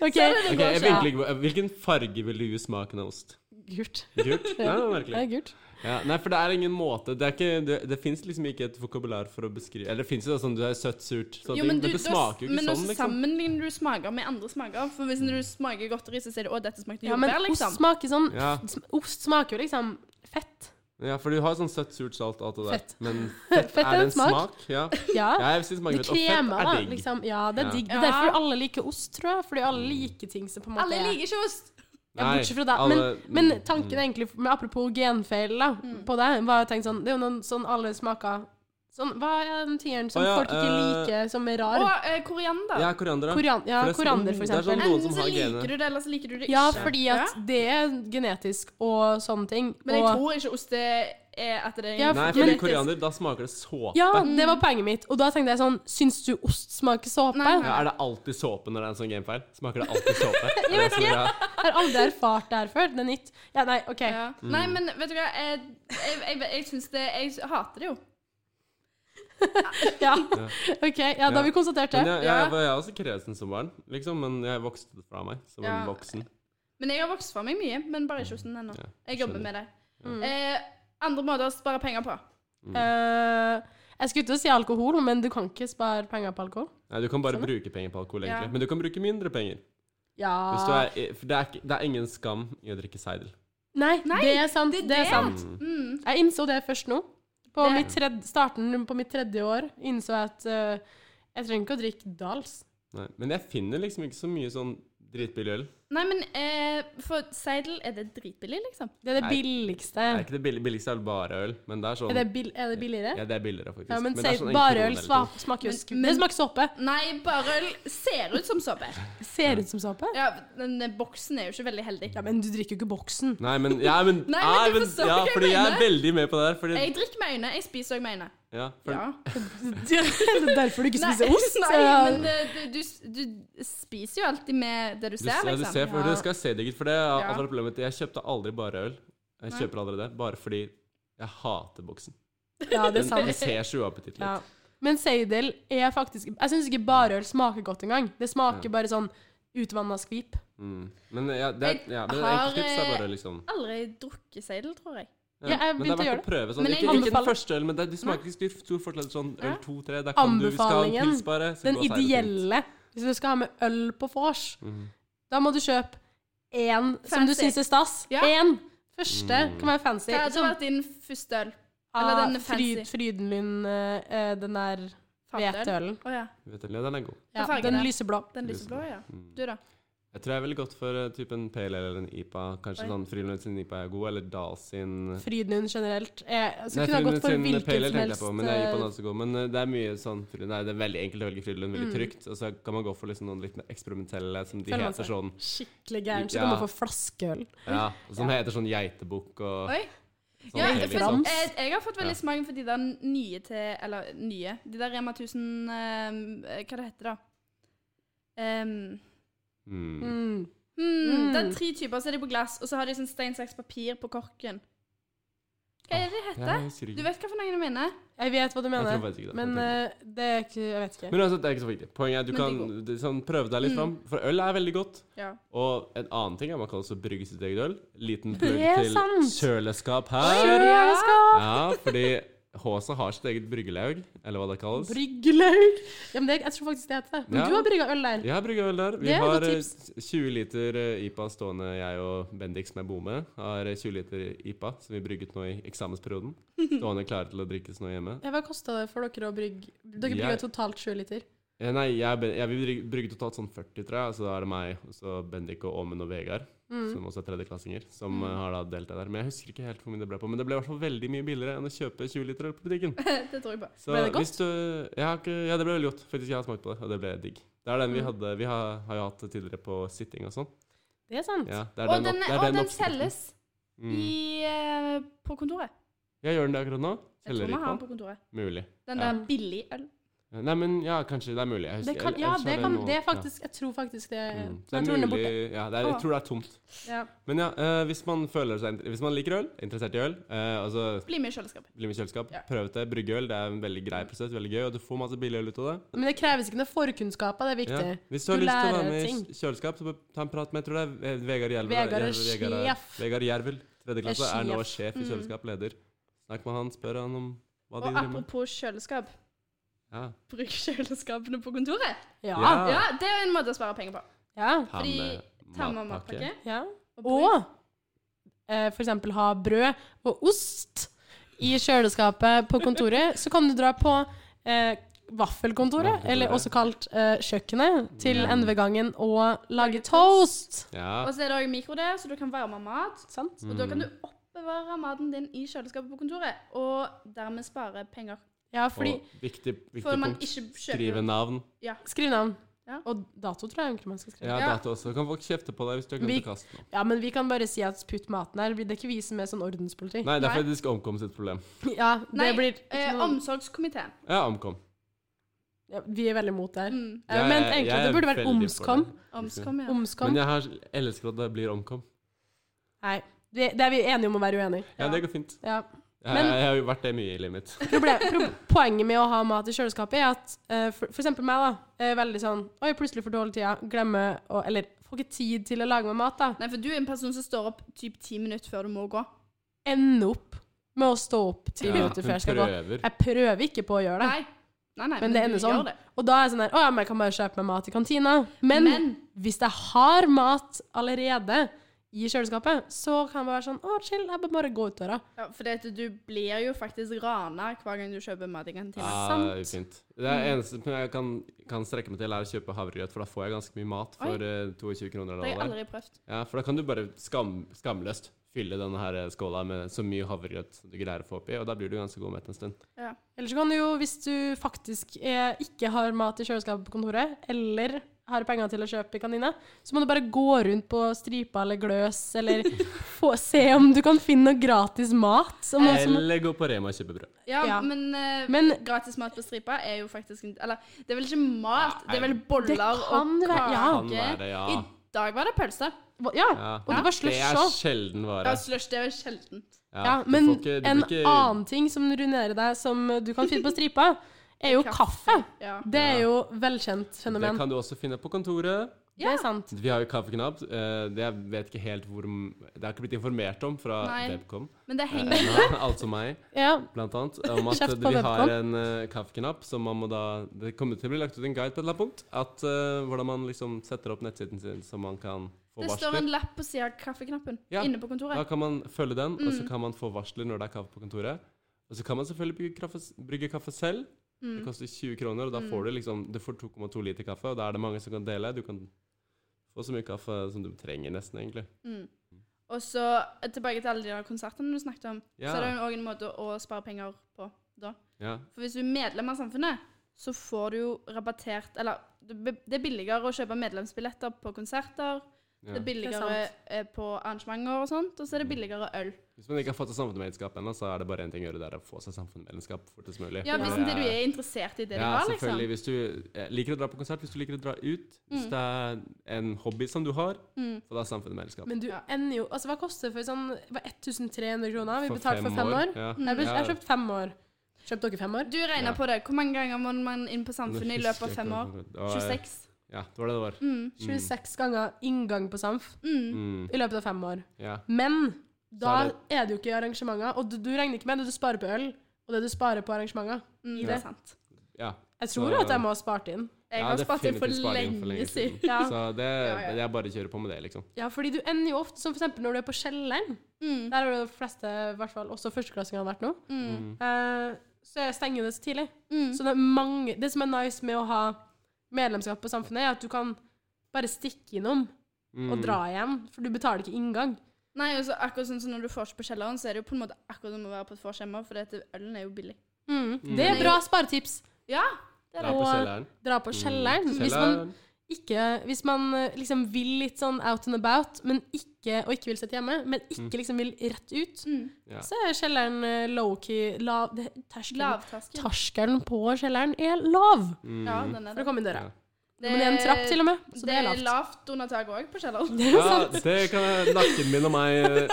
[SPEAKER 1] OK.
[SPEAKER 2] ser
[SPEAKER 3] Ok,
[SPEAKER 2] du det går
[SPEAKER 3] jeg
[SPEAKER 2] ikke.
[SPEAKER 3] virkelig ikke- eh, Hvilken farge vil du gi smaken av ost?
[SPEAKER 1] Gult.
[SPEAKER 3] Gult? Nei, det er
[SPEAKER 1] Det er
[SPEAKER 3] merkelig.
[SPEAKER 1] gult.
[SPEAKER 3] Ja, nei, for det er ingen måte Det, er ikke, det, det fins liksom ikke et vokabular for å beskrive Eller det fins jo det sånn du er søtt, surt sånne
[SPEAKER 2] Jo,
[SPEAKER 3] ting,
[SPEAKER 2] men,
[SPEAKER 3] men
[SPEAKER 2] du,
[SPEAKER 3] det
[SPEAKER 2] da-
[SPEAKER 3] smaker jo ikke
[SPEAKER 2] men
[SPEAKER 3] sånn,
[SPEAKER 2] også
[SPEAKER 3] liksom.
[SPEAKER 2] sammenligner du smaker med andre smaker. For hvis du smaker godteri, så sier du 'å, dette smakte
[SPEAKER 1] Ja, men
[SPEAKER 2] jordbær',
[SPEAKER 1] ost
[SPEAKER 2] liksom.
[SPEAKER 1] smaker sånn
[SPEAKER 3] Ja.
[SPEAKER 1] sm- Ost smaker jo liksom fett.
[SPEAKER 3] ja, for du har sånn søtt, surt, salt, alt det der.
[SPEAKER 1] Fett.
[SPEAKER 3] Men
[SPEAKER 1] Fett
[SPEAKER 3] er
[SPEAKER 1] er
[SPEAKER 3] det
[SPEAKER 1] en
[SPEAKER 3] en
[SPEAKER 1] smak.
[SPEAKER 3] smak? Ja.
[SPEAKER 1] Ja.
[SPEAKER 3] Jeg synes mange
[SPEAKER 1] Det
[SPEAKER 3] vet, og fett
[SPEAKER 1] kremer, da.
[SPEAKER 3] er digg.
[SPEAKER 1] Liksom. Ja, det er
[SPEAKER 3] Ja.
[SPEAKER 1] digg. Det er
[SPEAKER 2] Ja.
[SPEAKER 1] derfor alle liker ost, tror jeg. Fordi alle liker ting som på en måte
[SPEAKER 2] Mm. Alle
[SPEAKER 1] er-
[SPEAKER 2] liker ikke ost.
[SPEAKER 1] Ja,
[SPEAKER 3] Nei,
[SPEAKER 1] bortsett fra deg.
[SPEAKER 3] alle-
[SPEAKER 1] men, men
[SPEAKER 3] mm,
[SPEAKER 1] tanken er egentlig, men apropos genfeil da,
[SPEAKER 2] Mm.
[SPEAKER 1] på det, var jo tenkt sånn, det er jo noen sånn alle smaker sånn, Hva er den tingen som
[SPEAKER 3] Å ja,
[SPEAKER 1] folk ikke
[SPEAKER 3] eh,
[SPEAKER 1] liker, som er rar?
[SPEAKER 2] Og eh, koriander.
[SPEAKER 3] Ja, koriander.
[SPEAKER 1] Koran, ja,
[SPEAKER 3] Forresten,
[SPEAKER 1] korander, for
[SPEAKER 3] det er sånn-
[SPEAKER 1] eksempel.
[SPEAKER 3] noen som
[SPEAKER 2] Enten så
[SPEAKER 3] har
[SPEAKER 2] liker
[SPEAKER 3] genet.
[SPEAKER 2] du det, eller så liker du det ikke.
[SPEAKER 1] Ja, fordi at
[SPEAKER 2] Ja.
[SPEAKER 1] det er genetisk og sånne ting.
[SPEAKER 2] Men jeg
[SPEAKER 1] og,
[SPEAKER 2] tror ikke ost er er at det er
[SPEAKER 1] Ja,
[SPEAKER 3] Nei,
[SPEAKER 1] for-
[SPEAKER 3] fordi
[SPEAKER 1] men-
[SPEAKER 3] koriander, da smaker det såpe.
[SPEAKER 1] Ja, det var poenget mitt. Og da tenkte jeg sånn Syns du ost smaker såpe?
[SPEAKER 2] Nei,
[SPEAKER 3] Ja, er det alltid såpe når det er en sånn gamefeil? Smaker det alltid såpe? jeg vet ikke.
[SPEAKER 1] Jeg har aldri erfart det her før. Det er nytt. Ja, nei, OK.
[SPEAKER 2] Ja.
[SPEAKER 3] Mm.
[SPEAKER 2] Nei, men vet du hva, jeg, jeg, jeg, jeg syns det Jeg hater det jo.
[SPEAKER 1] Ja, Ok, ja da har vi konstatert
[SPEAKER 3] Men
[SPEAKER 1] det.
[SPEAKER 3] jeg, jeg, var- jeg var også kresen som barn, liksom, men jeg vokste det fra meg som en
[SPEAKER 2] Ja.
[SPEAKER 3] voksen.
[SPEAKER 2] Men jeg har vokst fra meg mye, men bare ikke osten ennå.
[SPEAKER 3] Ja,
[SPEAKER 2] Jeg jobber med det.
[SPEAKER 1] Mm.
[SPEAKER 2] Eh, andre måter å spare penger på.
[SPEAKER 1] Eh, jeg skulle ikke si alkohol, men du kan ikke spare penger på alkohol.
[SPEAKER 3] Nei, du kan bare bruke penger på alkohol, egentlig.
[SPEAKER 2] Ja.
[SPEAKER 3] Men du kan bruke mindre penger.
[SPEAKER 1] Ja
[SPEAKER 3] Hvis du er, for det er, ikke- det er ingen skam i å drikke seidel.
[SPEAKER 1] Nei,
[SPEAKER 2] Nei,
[SPEAKER 1] det er sant. Det,
[SPEAKER 2] det er
[SPEAKER 1] er sant.
[SPEAKER 2] Mm.
[SPEAKER 1] Jeg innså det først nå. På
[SPEAKER 2] Det-
[SPEAKER 1] mitt tredje, starten på mitt tredje år innså jeg at eh, jeg trenger ikke å drikke Dals.
[SPEAKER 3] Nei. Men jeg finner liksom ikke så mye sånn dritbillig øl.
[SPEAKER 2] Nei, men eh, for seidel er det dritbillig, liksom.
[SPEAKER 1] Det er det
[SPEAKER 3] Nei.
[SPEAKER 1] billigste.
[SPEAKER 3] Det er ikke det billig, billigste er bare øl, men det er sånn
[SPEAKER 1] Er det, bill er det billigere?
[SPEAKER 3] Ja, det er billigere, faktisk.
[SPEAKER 1] Ja, men,
[SPEAKER 3] det
[SPEAKER 1] si
[SPEAKER 3] er sånn en
[SPEAKER 1] bare
[SPEAKER 3] krone
[SPEAKER 1] øl
[SPEAKER 3] eller
[SPEAKER 1] sva-
[SPEAKER 3] to.
[SPEAKER 1] smaker jo
[SPEAKER 2] Men-
[SPEAKER 1] skummelt.
[SPEAKER 2] men-
[SPEAKER 1] Det smaker såpe.
[SPEAKER 2] Nei, bare øl ser ut som såpe.
[SPEAKER 1] Ser ut som såpe.
[SPEAKER 2] Ja, den boksen er jo ikke veldig heldig.
[SPEAKER 1] Ja, men du drikker jo ikke boksen.
[SPEAKER 3] Nei, men Ja, men,
[SPEAKER 2] Nei, men
[SPEAKER 3] ja,
[SPEAKER 2] du forstår
[SPEAKER 3] ja,
[SPEAKER 2] hva jeg
[SPEAKER 3] fordi jeg er
[SPEAKER 2] mener.
[SPEAKER 3] veldig med på det der. Fordi,
[SPEAKER 2] Jeg drikker med øynene, jeg spiser òg med øynene.
[SPEAKER 3] ja, for,
[SPEAKER 2] Ja.
[SPEAKER 1] det er derfor du ikke spiser ost.
[SPEAKER 2] Nei,
[SPEAKER 1] Ja.
[SPEAKER 2] men eh, du, du, du spiser jo alltid med det du
[SPEAKER 3] Du,
[SPEAKER 2] ser,
[SPEAKER 3] ja, du
[SPEAKER 2] liksom.
[SPEAKER 3] ser, for
[SPEAKER 1] Ja.
[SPEAKER 3] Det skal se digg ut. For det er
[SPEAKER 2] Ja.
[SPEAKER 3] altså problemet mitt. Jeg kjøpte aldri bare øl. Jeg
[SPEAKER 2] Nei.
[SPEAKER 3] kjøper aldri det, bare fordi jeg hater boksen.
[SPEAKER 1] Ja, det er
[SPEAKER 3] Den, det
[SPEAKER 1] sant.
[SPEAKER 3] ser så uappetittlig
[SPEAKER 1] Ja.
[SPEAKER 3] ut.
[SPEAKER 1] Men seidel er faktisk Jeg syns ikke barøl smaker godt engang. Det smaker bare sånn utvanna skvip.
[SPEAKER 3] Mm. Men ja, det er,
[SPEAKER 2] Jeg
[SPEAKER 3] ja, men
[SPEAKER 2] har,
[SPEAKER 3] enkelt tips er bare
[SPEAKER 2] eh,
[SPEAKER 3] liksom
[SPEAKER 2] Aldri drukket seidel, tror jeg.
[SPEAKER 1] Ja,
[SPEAKER 3] ja.
[SPEAKER 1] jeg
[SPEAKER 3] Men det
[SPEAKER 1] begynte å
[SPEAKER 3] er verdt
[SPEAKER 1] gjøre
[SPEAKER 3] å prøve. Sånn.
[SPEAKER 2] Men jeg
[SPEAKER 3] Ikke, ikke den
[SPEAKER 1] anbefaler-
[SPEAKER 3] første ølen, men det, du smaker ikke stor- stor forskjell. Sånn øl
[SPEAKER 2] Nei.
[SPEAKER 3] to-tre, der kan du Vi skal ha en
[SPEAKER 1] Anbefalingen,
[SPEAKER 3] pils, bare. så
[SPEAKER 1] Den
[SPEAKER 3] gå og seile fint.
[SPEAKER 1] ideelle. Hvis du skal ha med øl på vors,
[SPEAKER 3] Mhm.
[SPEAKER 1] da må du kjøpe én som du
[SPEAKER 2] Fancy.
[SPEAKER 1] syns er stas.
[SPEAKER 2] Ja.
[SPEAKER 1] Én! Første
[SPEAKER 3] Mm.
[SPEAKER 1] kan være fancy.
[SPEAKER 2] Hva hadde
[SPEAKER 1] Sånn,
[SPEAKER 2] vært din første øl?
[SPEAKER 1] ah,
[SPEAKER 2] Eller den er fancy.
[SPEAKER 1] fryd, Frydenlund, eh, den der
[SPEAKER 2] Fatøl?
[SPEAKER 1] hveteølen.
[SPEAKER 2] Å ja.
[SPEAKER 3] Vet du, ja, Den er god. Mm.
[SPEAKER 1] Ja,
[SPEAKER 2] fargen
[SPEAKER 1] den
[SPEAKER 2] er?
[SPEAKER 1] lyseblå.
[SPEAKER 2] Den lyseblå, ja. Du, da?
[SPEAKER 3] Jeg tror jeg ville gått for eh, typ en pale ale eller en IPA. Kanskje
[SPEAKER 2] Oi.
[SPEAKER 3] sånn Frydenlund sin IPA er god, eller Dahl sin Nei,
[SPEAKER 1] Frydenlund generelt. Jeg, så kunne jeg
[SPEAKER 3] Frydenlund
[SPEAKER 1] gått for
[SPEAKER 3] sin
[SPEAKER 1] hvilken
[SPEAKER 3] pale ale
[SPEAKER 1] som
[SPEAKER 3] tenkte jeg
[SPEAKER 1] helst.
[SPEAKER 3] på, men det er IPA
[SPEAKER 1] eh,
[SPEAKER 3] den er også god. Men eh, det er mye sånn Frydenlund- Nei, det er veldig enkelt å velge Frydenlund, veldig
[SPEAKER 1] Mm.
[SPEAKER 3] trygt. Og så kan man gå for liksom noen litt mer eksperimentelle, som de
[SPEAKER 1] Føler man
[SPEAKER 3] heter
[SPEAKER 1] seg.
[SPEAKER 3] sånn
[SPEAKER 1] eh, Skikkelig gæren. Så
[SPEAKER 3] Ja.
[SPEAKER 1] kan man få flaskeøl.
[SPEAKER 3] Ja, som heter sånn geitebukk og
[SPEAKER 2] Oi.
[SPEAKER 3] sånn.
[SPEAKER 2] Ja,
[SPEAKER 1] Veldig
[SPEAKER 3] hele,
[SPEAKER 2] jeg,
[SPEAKER 1] fram.
[SPEAKER 3] liksom.
[SPEAKER 2] føler- jeg, Eh, jeg har fått veldig
[SPEAKER 3] Ja.
[SPEAKER 2] smaken for de der nye til Eller nye. De der Rema 1000 ehm, Hva det heter da? Ehm,
[SPEAKER 3] Mm.
[SPEAKER 1] Mm.
[SPEAKER 2] hmm,
[SPEAKER 1] Mm.
[SPEAKER 2] Det er tre typer, så er de på glass, og så har de sånn stein, saks, papir på korken. Hva er det de
[SPEAKER 3] Ja,
[SPEAKER 2] heter?
[SPEAKER 3] jeg husker
[SPEAKER 2] Du
[SPEAKER 3] ikke.
[SPEAKER 2] vet hva for noen jeg mener?
[SPEAKER 1] Jeg vet hva du
[SPEAKER 3] Jeg tror
[SPEAKER 1] mener,
[SPEAKER 3] faktisk ikke det.
[SPEAKER 1] men
[SPEAKER 3] Jeg
[SPEAKER 1] eh, det er ikke Jeg vet ikke.
[SPEAKER 3] Men altså, det er ikke så viktig. Poenget er at du
[SPEAKER 2] Men det
[SPEAKER 3] kan du, sånn, prøve deg litt
[SPEAKER 2] Mm.
[SPEAKER 3] fram. For øl er veldig godt.
[SPEAKER 2] Ja.
[SPEAKER 3] Og en annen ting er man kan også brygge sitt eget øl. Liten
[SPEAKER 1] Det
[SPEAKER 3] plugg
[SPEAKER 1] er
[SPEAKER 3] til
[SPEAKER 1] sant.
[SPEAKER 3] kjøleskap
[SPEAKER 2] Oi,
[SPEAKER 3] her.
[SPEAKER 2] oi.
[SPEAKER 1] Kjøleskap!
[SPEAKER 3] Ja, fordi Håsa har sitt eget bryggelaug, eller hva det kalles.
[SPEAKER 1] Bryggelaug. Ja, men det, jeg tror faktisk det heter det. Men
[SPEAKER 3] Ja.
[SPEAKER 1] du har brygga øl der.
[SPEAKER 3] Jeg har brygga øl der. Vi
[SPEAKER 1] Det er et
[SPEAKER 3] har
[SPEAKER 1] godt
[SPEAKER 3] eh,
[SPEAKER 1] tips.
[SPEAKER 3] 20 liter eh, IPA stående, jeg og Bendik, som jeg bor med, har eh, 20 liter IPA som vi brygget nå i eksamensperioden. Stående klare til å drikkes nå hjemme.
[SPEAKER 1] Ja, hva kosta det for dere å brygge Dere
[SPEAKER 3] Jeg-
[SPEAKER 1] brygga totalt 7 liter.
[SPEAKER 3] Eh, Nei, jeg, og Ben- jeg, vi bryg- brygget totalt sånn 40, tror jeg. Så da er det meg, og så Bendik og Åmund og Vegard,
[SPEAKER 1] Mm.
[SPEAKER 3] som også er tredjeklassinger, som eh, har da deltatt der. Men jeg husker ikke helt hvor mye det ble på, men det ble i hvert fall veldig mye billigere enn å kjøpe 20 liter øl på butikken.
[SPEAKER 2] det tror jeg på.
[SPEAKER 3] Så
[SPEAKER 1] Ble det godt?
[SPEAKER 3] hvis Du, jeg har ikke, ja, det ble veldig godt. Faktisk, jeg har smakt på det, og det ble digg. Det er den vi
[SPEAKER 1] Mm.
[SPEAKER 3] hadde Vi har, har jo hatt det tidligere på sitting og sånn.
[SPEAKER 1] Det er sant.
[SPEAKER 3] Ja, det er
[SPEAKER 2] Og
[SPEAKER 3] den,
[SPEAKER 2] den,
[SPEAKER 3] opp- det
[SPEAKER 2] er-
[SPEAKER 3] er
[SPEAKER 2] og den
[SPEAKER 3] oppskriften.
[SPEAKER 2] selges
[SPEAKER 3] Mm.
[SPEAKER 2] i, eh, på kontoret.
[SPEAKER 3] Jeg gjør den det akkurat nå.
[SPEAKER 2] Jeg tror
[SPEAKER 3] Selger
[SPEAKER 2] vi
[SPEAKER 3] ikke
[SPEAKER 2] har den
[SPEAKER 3] den.
[SPEAKER 2] på kontoret.
[SPEAKER 3] Mulig.
[SPEAKER 2] Den
[SPEAKER 3] Ja.
[SPEAKER 2] der billig øl.
[SPEAKER 3] Nei, men ja, kanskje det er mulig. Jeg
[SPEAKER 1] Det
[SPEAKER 3] husker,
[SPEAKER 1] kan, ja,
[SPEAKER 3] ellers er
[SPEAKER 1] det kan
[SPEAKER 3] noe-
[SPEAKER 1] Det er
[SPEAKER 3] ja.
[SPEAKER 1] faktisk Jeg tror faktisk det Jeg
[SPEAKER 3] Mm.
[SPEAKER 1] tror den
[SPEAKER 3] Det
[SPEAKER 1] er
[SPEAKER 3] er mulig
[SPEAKER 1] borte.
[SPEAKER 3] Ja, det er, jeg
[SPEAKER 2] Å.
[SPEAKER 3] tror det er tomt.
[SPEAKER 1] Ja.
[SPEAKER 3] Men ja, eh, hvis man føler seg inter- Hvis man liker øl, er interessert i øl, eh, altså
[SPEAKER 2] Bli med i kjøleskapet.
[SPEAKER 3] bli med i kjøleskap,
[SPEAKER 2] Ja.
[SPEAKER 3] prøv det. Bryggeøl, det er en veldig grei prosess, veldig gøy, og du får masse billig øl ut av det.
[SPEAKER 1] Men det kreves ikke noe forkunnskap, det er viktig.
[SPEAKER 3] Ja. Hvis du har
[SPEAKER 1] Du
[SPEAKER 3] lyst til å
[SPEAKER 1] lærer
[SPEAKER 3] være med
[SPEAKER 1] ting.
[SPEAKER 3] i kjøleskap, så bare ta en prat med jeg tror det er Vegard Jervel.
[SPEAKER 1] Vegard er
[SPEAKER 3] Vegard er-
[SPEAKER 1] sjef.
[SPEAKER 3] Vegard Jervel, tredje klasse,
[SPEAKER 1] Er
[SPEAKER 3] er nå
[SPEAKER 1] sjef. Mm.
[SPEAKER 3] sjef i kjøleskap, leder. Snakk med han, spør han om hva
[SPEAKER 2] Og
[SPEAKER 3] de driver med.
[SPEAKER 2] apropos kjøleskap,
[SPEAKER 3] Ja.
[SPEAKER 2] bruk kjøleskapene på kontoret.
[SPEAKER 1] Ja.
[SPEAKER 3] Ja.
[SPEAKER 2] Ja, det er en måte å spare penger på.
[SPEAKER 1] ja.
[SPEAKER 3] Ta
[SPEAKER 2] Fordi
[SPEAKER 3] med
[SPEAKER 2] Ta med
[SPEAKER 3] matpakke.
[SPEAKER 2] matpakke.
[SPEAKER 1] ja.
[SPEAKER 2] bruk-
[SPEAKER 1] Og eh, for eksempel ha brød og ost i kjøleskapet på kontoret, så kan du dra på eh, vaffelkontoret,
[SPEAKER 3] Vaffelkontoret.
[SPEAKER 1] eller også kalt eh, kjøkkenet, til
[SPEAKER 3] Mm.
[SPEAKER 1] NV-gangen og lage toast.
[SPEAKER 3] Ja.
[SPEAKER 2] Og så er det òg mikro der, så du kan varme mat.
[SPEAKER 1] Sant?
[SPEAKER 2] Og da kan
[SPEAKER 3] Mm.
[SPEAKER 2] du oppbevare maten din i kjøleskapet på kontoret, og dermed spare penger.
[SPEAKER 1] Ja, fordi
[SPEAKER 3] Og viktig,
[SPEAKER 2] For
[SPEAKER 3] viktig
[SPEAKER 2] man
[SPEAKER 3] punkt,
[SPEAKER 2] ikke
[SPEAKER 3] skrive
[SPEAKER 2] kjøper
[SPEAKER 3] navn.
[SPEAKER 1] Skriv navn.
[SPEAKER 2] Ja.
[SPEAKER 1] Og dato tror jeg egentlig man skal skrive.
[SPEAKER 3] Ja,
[SPEAKER 2] Ja.
[SPEAKER 3] dato også. Kan folk kjefte på deg hvis du har
[SPEAKER 1] Vi-
[SPEAKER 3] glemt å kaste noe?
[SPEAKER 1] Ja, men vi kan bare si at putt maten her. Det er ikke vi som er sånn ordenspoliti.
[SPEAKER 3] Nei, det er
[SPEAKER 2] Nei.
[SPEAKER 3] faktisk omkom sitt problem.
[SPEAKER 1] Ja, det
[SPEAKER 2] Nei,
[SPEAKER 1] blir ikke
[SPEAKER 2] eh,
[SPEAKER 1] noe...
[SPEAKER 2] Omsorgskomiteen.
[SPEAKER 3] Ja, omkom.
[SPEAKER 1] ja, Vi er veldig imot det her.
[SPEAKER 2] Mm.
[SPEAKER 1] Eh, men egentlig,
[SPEAKER 3] jeg er
[SPEAKER 1] det burde vært
[SPEAKER 3] veldig for
[SPEAKER 1] omskom.
[SPEAKER 3] det.
[SPEAKER 2] Omskom, ja.
[SPEAKER 1] Omskom.
[SPEAKER 3] Men jeg har, elsker at det blir omkom.
[SPEAKER 1] Nei. Det, det er vi enige om å være uenige i.
[SPEAKER 3] Ja,
[SPEAKER 2] Ja.
[SPEAKER 3] det går fint.
[SPEAKER 1] Ja.
[SPEAKER 3] Jeg,
[SPEAKER 1] Men-
[SPEAKER 3] jeg har jo vært det mye i livet mitt.
[SPEAKER 1] Problem, pro- poenget med å ha mat i kjøleskapet er at eh, for, for eksempel meg, da, er veldig sånn Oi, plutselig for dårlig tida. Glemmer å Eller får ikke tid til å lage meg mat, da.
[SPEAKER 2] Nei, for du er en person som står opp typ ti minutter før du må gå.
[SPEAKER 1] Ender opp med å stå opp ti
[SPEAKER 3] Ja,
[SPEAKER 1] minutter før jeg skal gå.
[SPEAKER 3] Hun prøver.
[SPEAKER 1] Jeg prøver ikke på å gjøre det.
[SPEAKER 2] Nei. Nei, nei,
[SPEAKER 1] Men det ender
[SPEAKER 2] du
[SPEAKER 1] sånn.
[SPEAKER 2] gjør det.
[SPEAKER 1] Og da er jeg sånn her Å ja, men jeg kan bare kjøpe meg mat i kantina. Men,
[SPEAKER 2] Men-
[SPEAKER 1] hvis jeg har mat allerede i kjøleskapet, så kan jeg bare være sånn Å, chill, jeg bør bare gå ut døra.
[SPEAKER 2] Ja, for det at du blir jo faktisk rana hver gang du kjøper mat i kantina.
[SPEAKER 3] Ja,
[SPEAKER 1] sant. Mm.
[SPEAKER 3] det er ufint. Det er eneste jeg kan, kan strekke meg til, er å kjøpe havregrøt, for da får jeg ganske mye mat
[SPEAKER 2] Oi.
[SPEAKER 3] for eh, 22 kroner.
[SPEAKER 2] Det
[SPEAKER 3] Eller
[SPEAKER 2] har jeg
[SPEAKER 3] hva det er.
[SPEAKER 2] aldri prøvd.
[SPEAKER 3] Ja, for da kan du bare skam, skamløst fylle denne her skåla med så mye havregrøt som du greier å få oppi, og da blir du ganske god mett en stund.
[SPEAKER 1] Eller så kan du jo, hvis du faktisk eh, ikke har mat i kjøleskapet på kontoret, eller har penger til å kjøpe i kantina, så må du bare gå rundt på stripa eller gløs, eller få, se om du kan finne noe gratis mat. Som noen som,
[SPEAKER 3] Eller gå på Rema og kjøpe brød.
[SPEAKER 2] Ja,
[SPEAKER 1] Ja.
[SPEAKER 2] men, eh,
[SPEAKER 1] Men-
[SPEAKER 2] gratis mat på stripa er jo faktisk en- Eller det er vel ikke mat, det er vel
[SPEAKER 1] Det
[SPEAKER 2] boller
[SPEAKER 1] kan
[SPEAKER 2] og
[SPEAKER 1] være-
[SPEAKER 2] kake.
[SPEAKER 1] ja.
[SPEAKER 3] Kan være, ja.
[SPEAKER 2] I dag var det pølse.
[SPEAKER 1] ja,
[SPEAKER 3] Ja.
[SPEAKER 1] og det var
[SPEAKER 3] Det
[SPEAKER 1] slush
[SPEAKER 3] er
[SPEAKER 1] òg.
[SPEAKER 3] sjelden
[SPEAKER 2] Ja,
[SPEAKER 3] vare.
[SPEAKER 2] slush, det er jo sjeldent.
[SPEAKER 3] Ja,
[SPEAKER 1] Ja,
[SPEAKER 3] du
[SPEAKER 1] men
[SPEAKER 3] får ikke- du
[SPEAKER 1] en
[SPEAKER 3] blir ikke-
[SPEAKER 1] annen ting som ruinerer deg, som du kan finne på stripa, er jo kaffe.
[SPEAKER 2] Ja.
[SPEAKER 1] Det er jo velkjent
[SPEAKER 3] Det
[SPEAKER 1] fenomen.
[SPEAKER 3] kan du også finne på kontoret.
[SPEAKER 1] Det er sant.
[SPEAKER 3] Vi har jo kaffeknapp. eh, Det jeg vet ikke helt hvor m- Det har ikke blitt informert om fra
[SPEAKER 2] Nei.
[SPEAKER 3] Webcom.
[SPEAKER 2] Men det
[SPEAKER 3] Eh,
[SPEAKER 2] henger
[SPEAKER 3] men Altså meg.
[SPEAKER 1] Ja,
[SPEAKER 3] blant annet, om at
[SPEAKER 1] Kjeft på
[SPEAKER 3] vi har
[SPEAKER 1] Webcom.
[SPEAKER 3] en uh, kaffeknapp som man må da Det kommer til å bli lagt ut en guide på et eller annet punkt. At eh, Hvordan man liksom setter opp nettsiden sin så man kan få
[SPEAKER 2] Det står
[SPEAKER 3] varsler.
[SPEAKER 2] en lapp på sida av kaffeknappen
[SPEAKER 3] Ja.
[SPEAKER 2] inne på
[SPEAKER 3] Da
[SPEAKER 2] kontoret.
[SPEAKER 3] kan man følge den, og så
[SPEAKER 2] Mm.
[SPEAKER 3] kan man få varsler når det er kaffe på kontoret. Og så kan man selvfølgelig brygge kaffe, brygge kaffe selv. Det
[SPEAKER 2] Mm.
[SPEAKER 3] koster 20 kroner, og da
[SPEAKER 2] Mm.
[SPEAKER 3] får du liksom Du får 2,2 liter kaffe, og da er det mange som kan dele. Du kan Få så mye kaffe som du trenger, nesten, egentlig.
[SPEAKER 2] Mm. Og så eh, tilbake til alle de der konsertene du snakket om.
[SPEAKER 3] Ja.
[SPEAKER 2] Så er det jo også en måte å spare penger på da.
[SPEAKER 3] Ja.
[SPEAKER 2] For hvis du er medlem av samfunnet, så får du jo rabattert Eller det be- det er billigere å kjøpe medlemsbilletter på
[SPEAKER 3] ja.
[SPEAKER 2] konserter.
[SPEAKER 3] Mm.
[SPEAKER 2] Det er billigere
[SPEAKER 1] Det er sant.
[SPEAKER 2] eh, på arrangementer og sånt. Og så er det billigere øl.
[SPEAKER 3] Hvis man ikke har fått seg samfunnsmedlemskap ennå, så er det bare én ting å gjøre, det er å få seg samfunnsmedlemskap fortest mulig.
[SPEAKER 2] Ja, hvis
[SPEAKER 3] Det
[SPEAKER 2] ikke du er interessert i det du
[SPEAKER 3] ja,
[SPEAKER 2] har, liksom.
[SPEAKER 3] selvfølgelig. Hvis du eh, liker å dra på konsert, hvis du liker å dra ut, hvis
[SPEAKER 2] Mm.
[SPEAKER 3] det er en hobby som du har,
[SPEAKER 2] Mm.
[SPEAKER 3] så da er samfunnsmedlemskap.
[SPEAKER 1] Men du
[SPEAKER 2] Ja.
[SPEAKER 1] ender jo Altså, hva koster for sånn Det var 1300 kroner. Vi betalte for fem år.
[SPEAKER 2] Mm.
[SPEAKER 3] Ja.
[SPEAKER 1] Jeg, ble,
[SPEAKER 3] Ja.
[SPEAKER 1] jeg har kjøpt fem år. Kjøpte dere fem år?
[SPEAKER 2] Du regner
[SPEAKER 3] Ja.
[SPEAKER 2] på det. Hvor mange ganger må man inn på Samfunnet i
[SPEAKER 3] Nå
[SPEAKER 2] løpet av
[SPEAKER 3] husker jeg
[SPEAKER 2] fem
[SPEAKER 3] ikke
[SPEAKER 2] år?
[SPEAKER 3] hva det var. Det var-
[SPEAKER 2] 26.
[SPEAKER 3] Ja, det var det det var.
[SPEAKER 2] Mm.
[SPEAKER 1] 26 ganger inngang på SAMF
[SPEAKER 2] Mm.
[SPEAKER 3] Mm.
[SPEAKER 1] i løpet av fem år.
[SPEAKER 3] Ja.
[SPEAKER 1] Men da
[SPEAKER 3] Så er
[SPEAKER 1] er, det jo ikke arrangementer. Og du, du regner ikke med det du sparer på øl, og det du sparer på arrangementer. I
[SPEAKER 2] Mm, det
[SPEAKER 1] det.
[SPEAKER 2] er sant.
[SPEAKER 3] ja.
[SPEAKER 1] Jeg tror
[SPEAKER 3] Så-
[SPEAKER 1] at jeg må ha spart inn.
[SPEAKER 2] Jeg
[SPEAKER 3] Ja,
[SPEAKER 2] har spart det
[SPEAKER 3] definitivt
[SPEAKER 2] for
[SPEAKER 3] sparing
[SPEAKER 2] lenge, siden.
[SPEAKER 1] Ja.
[SPEAKER 3] Så det,
[SPEAKER 2] ja.
[SPEAKER 3] jeg bare kjører på med det, liksom.
[SPEAKER 1] Ja, fordi du ender jo ofte, som for eksempel når du er på kjelleren.
[SPEAKER 2] Mm.
[SPEAKER 1] Der har jo de fleste, i hvert fall også førsteklassingene, har vært nå.
[SPEAKER 2] Mm.
[SPEAKER 1] Eh, så jeg stenger det så tidlig.
[SPEAKER 2] Mm.
[SPEAKER 1] Så det, er mange, det som er nice med å ha medlemskap på samfunnet, er at du kan bare stikke innom
[SPEAKER 3] Mm.
[SPEAKER 1] og dra igjen, for du betaler ikke inngang.
[SPEAKER 2] Nei, altså, akkurat sånn som når du får på kjelleren, så er det jo på en måte akkurat som å være på et forskjemmer, for dette, ølen er jo billig.
[SPEAKER 1] Det er bra sparetips.
[SPEAKER 2] Ja, det er
[SPEAKER 3] Mm.
[SPEAKER 1] Og-
[SPEAKER 3] Dra på kjelleren. Mm.
[SPEAKER 2] det.
[SPEAKER 1] Dra på kjelleren. Hvis man,
[SPEAKER 3] Kjelleren.
[SPEAKER 1] ikke, hvis man eh, liksom vil litt sånn out and about, men ikke, og ikke vil sitte hjemme, men
[SPEAKER 3] Mm.
[SPEAKER 1] ikke liksom vil rett ut,
[SPEAKER 2] Mm.
[SPEAKER 3] Ja.
[SPEAKER 1] så er kjelleren eh, low-key lav, det- terskelen,
[SPEAKER 2] Lavterskel.
[SPEAKER 1] terskelen på kjelleren er lav
[SPEAKER 3] Mm.
[SPEAKER 2] Ja, den er
[SPEAKER 1] for
[SPEAKER 2] det.
[SPEAKER 1] å komme inn døra.
[SPEAKER 3] Ja.
[SPEAKER 1] Men det er en trapp til og med, så
[SPEAKER 2] det er lavt,
[SPEAKER 1] lavt.
[SPEAKER 2] under taket òg på kjelleren.
[SPEAKER 3] Ja, det kan jeg- nakken min og meg eh,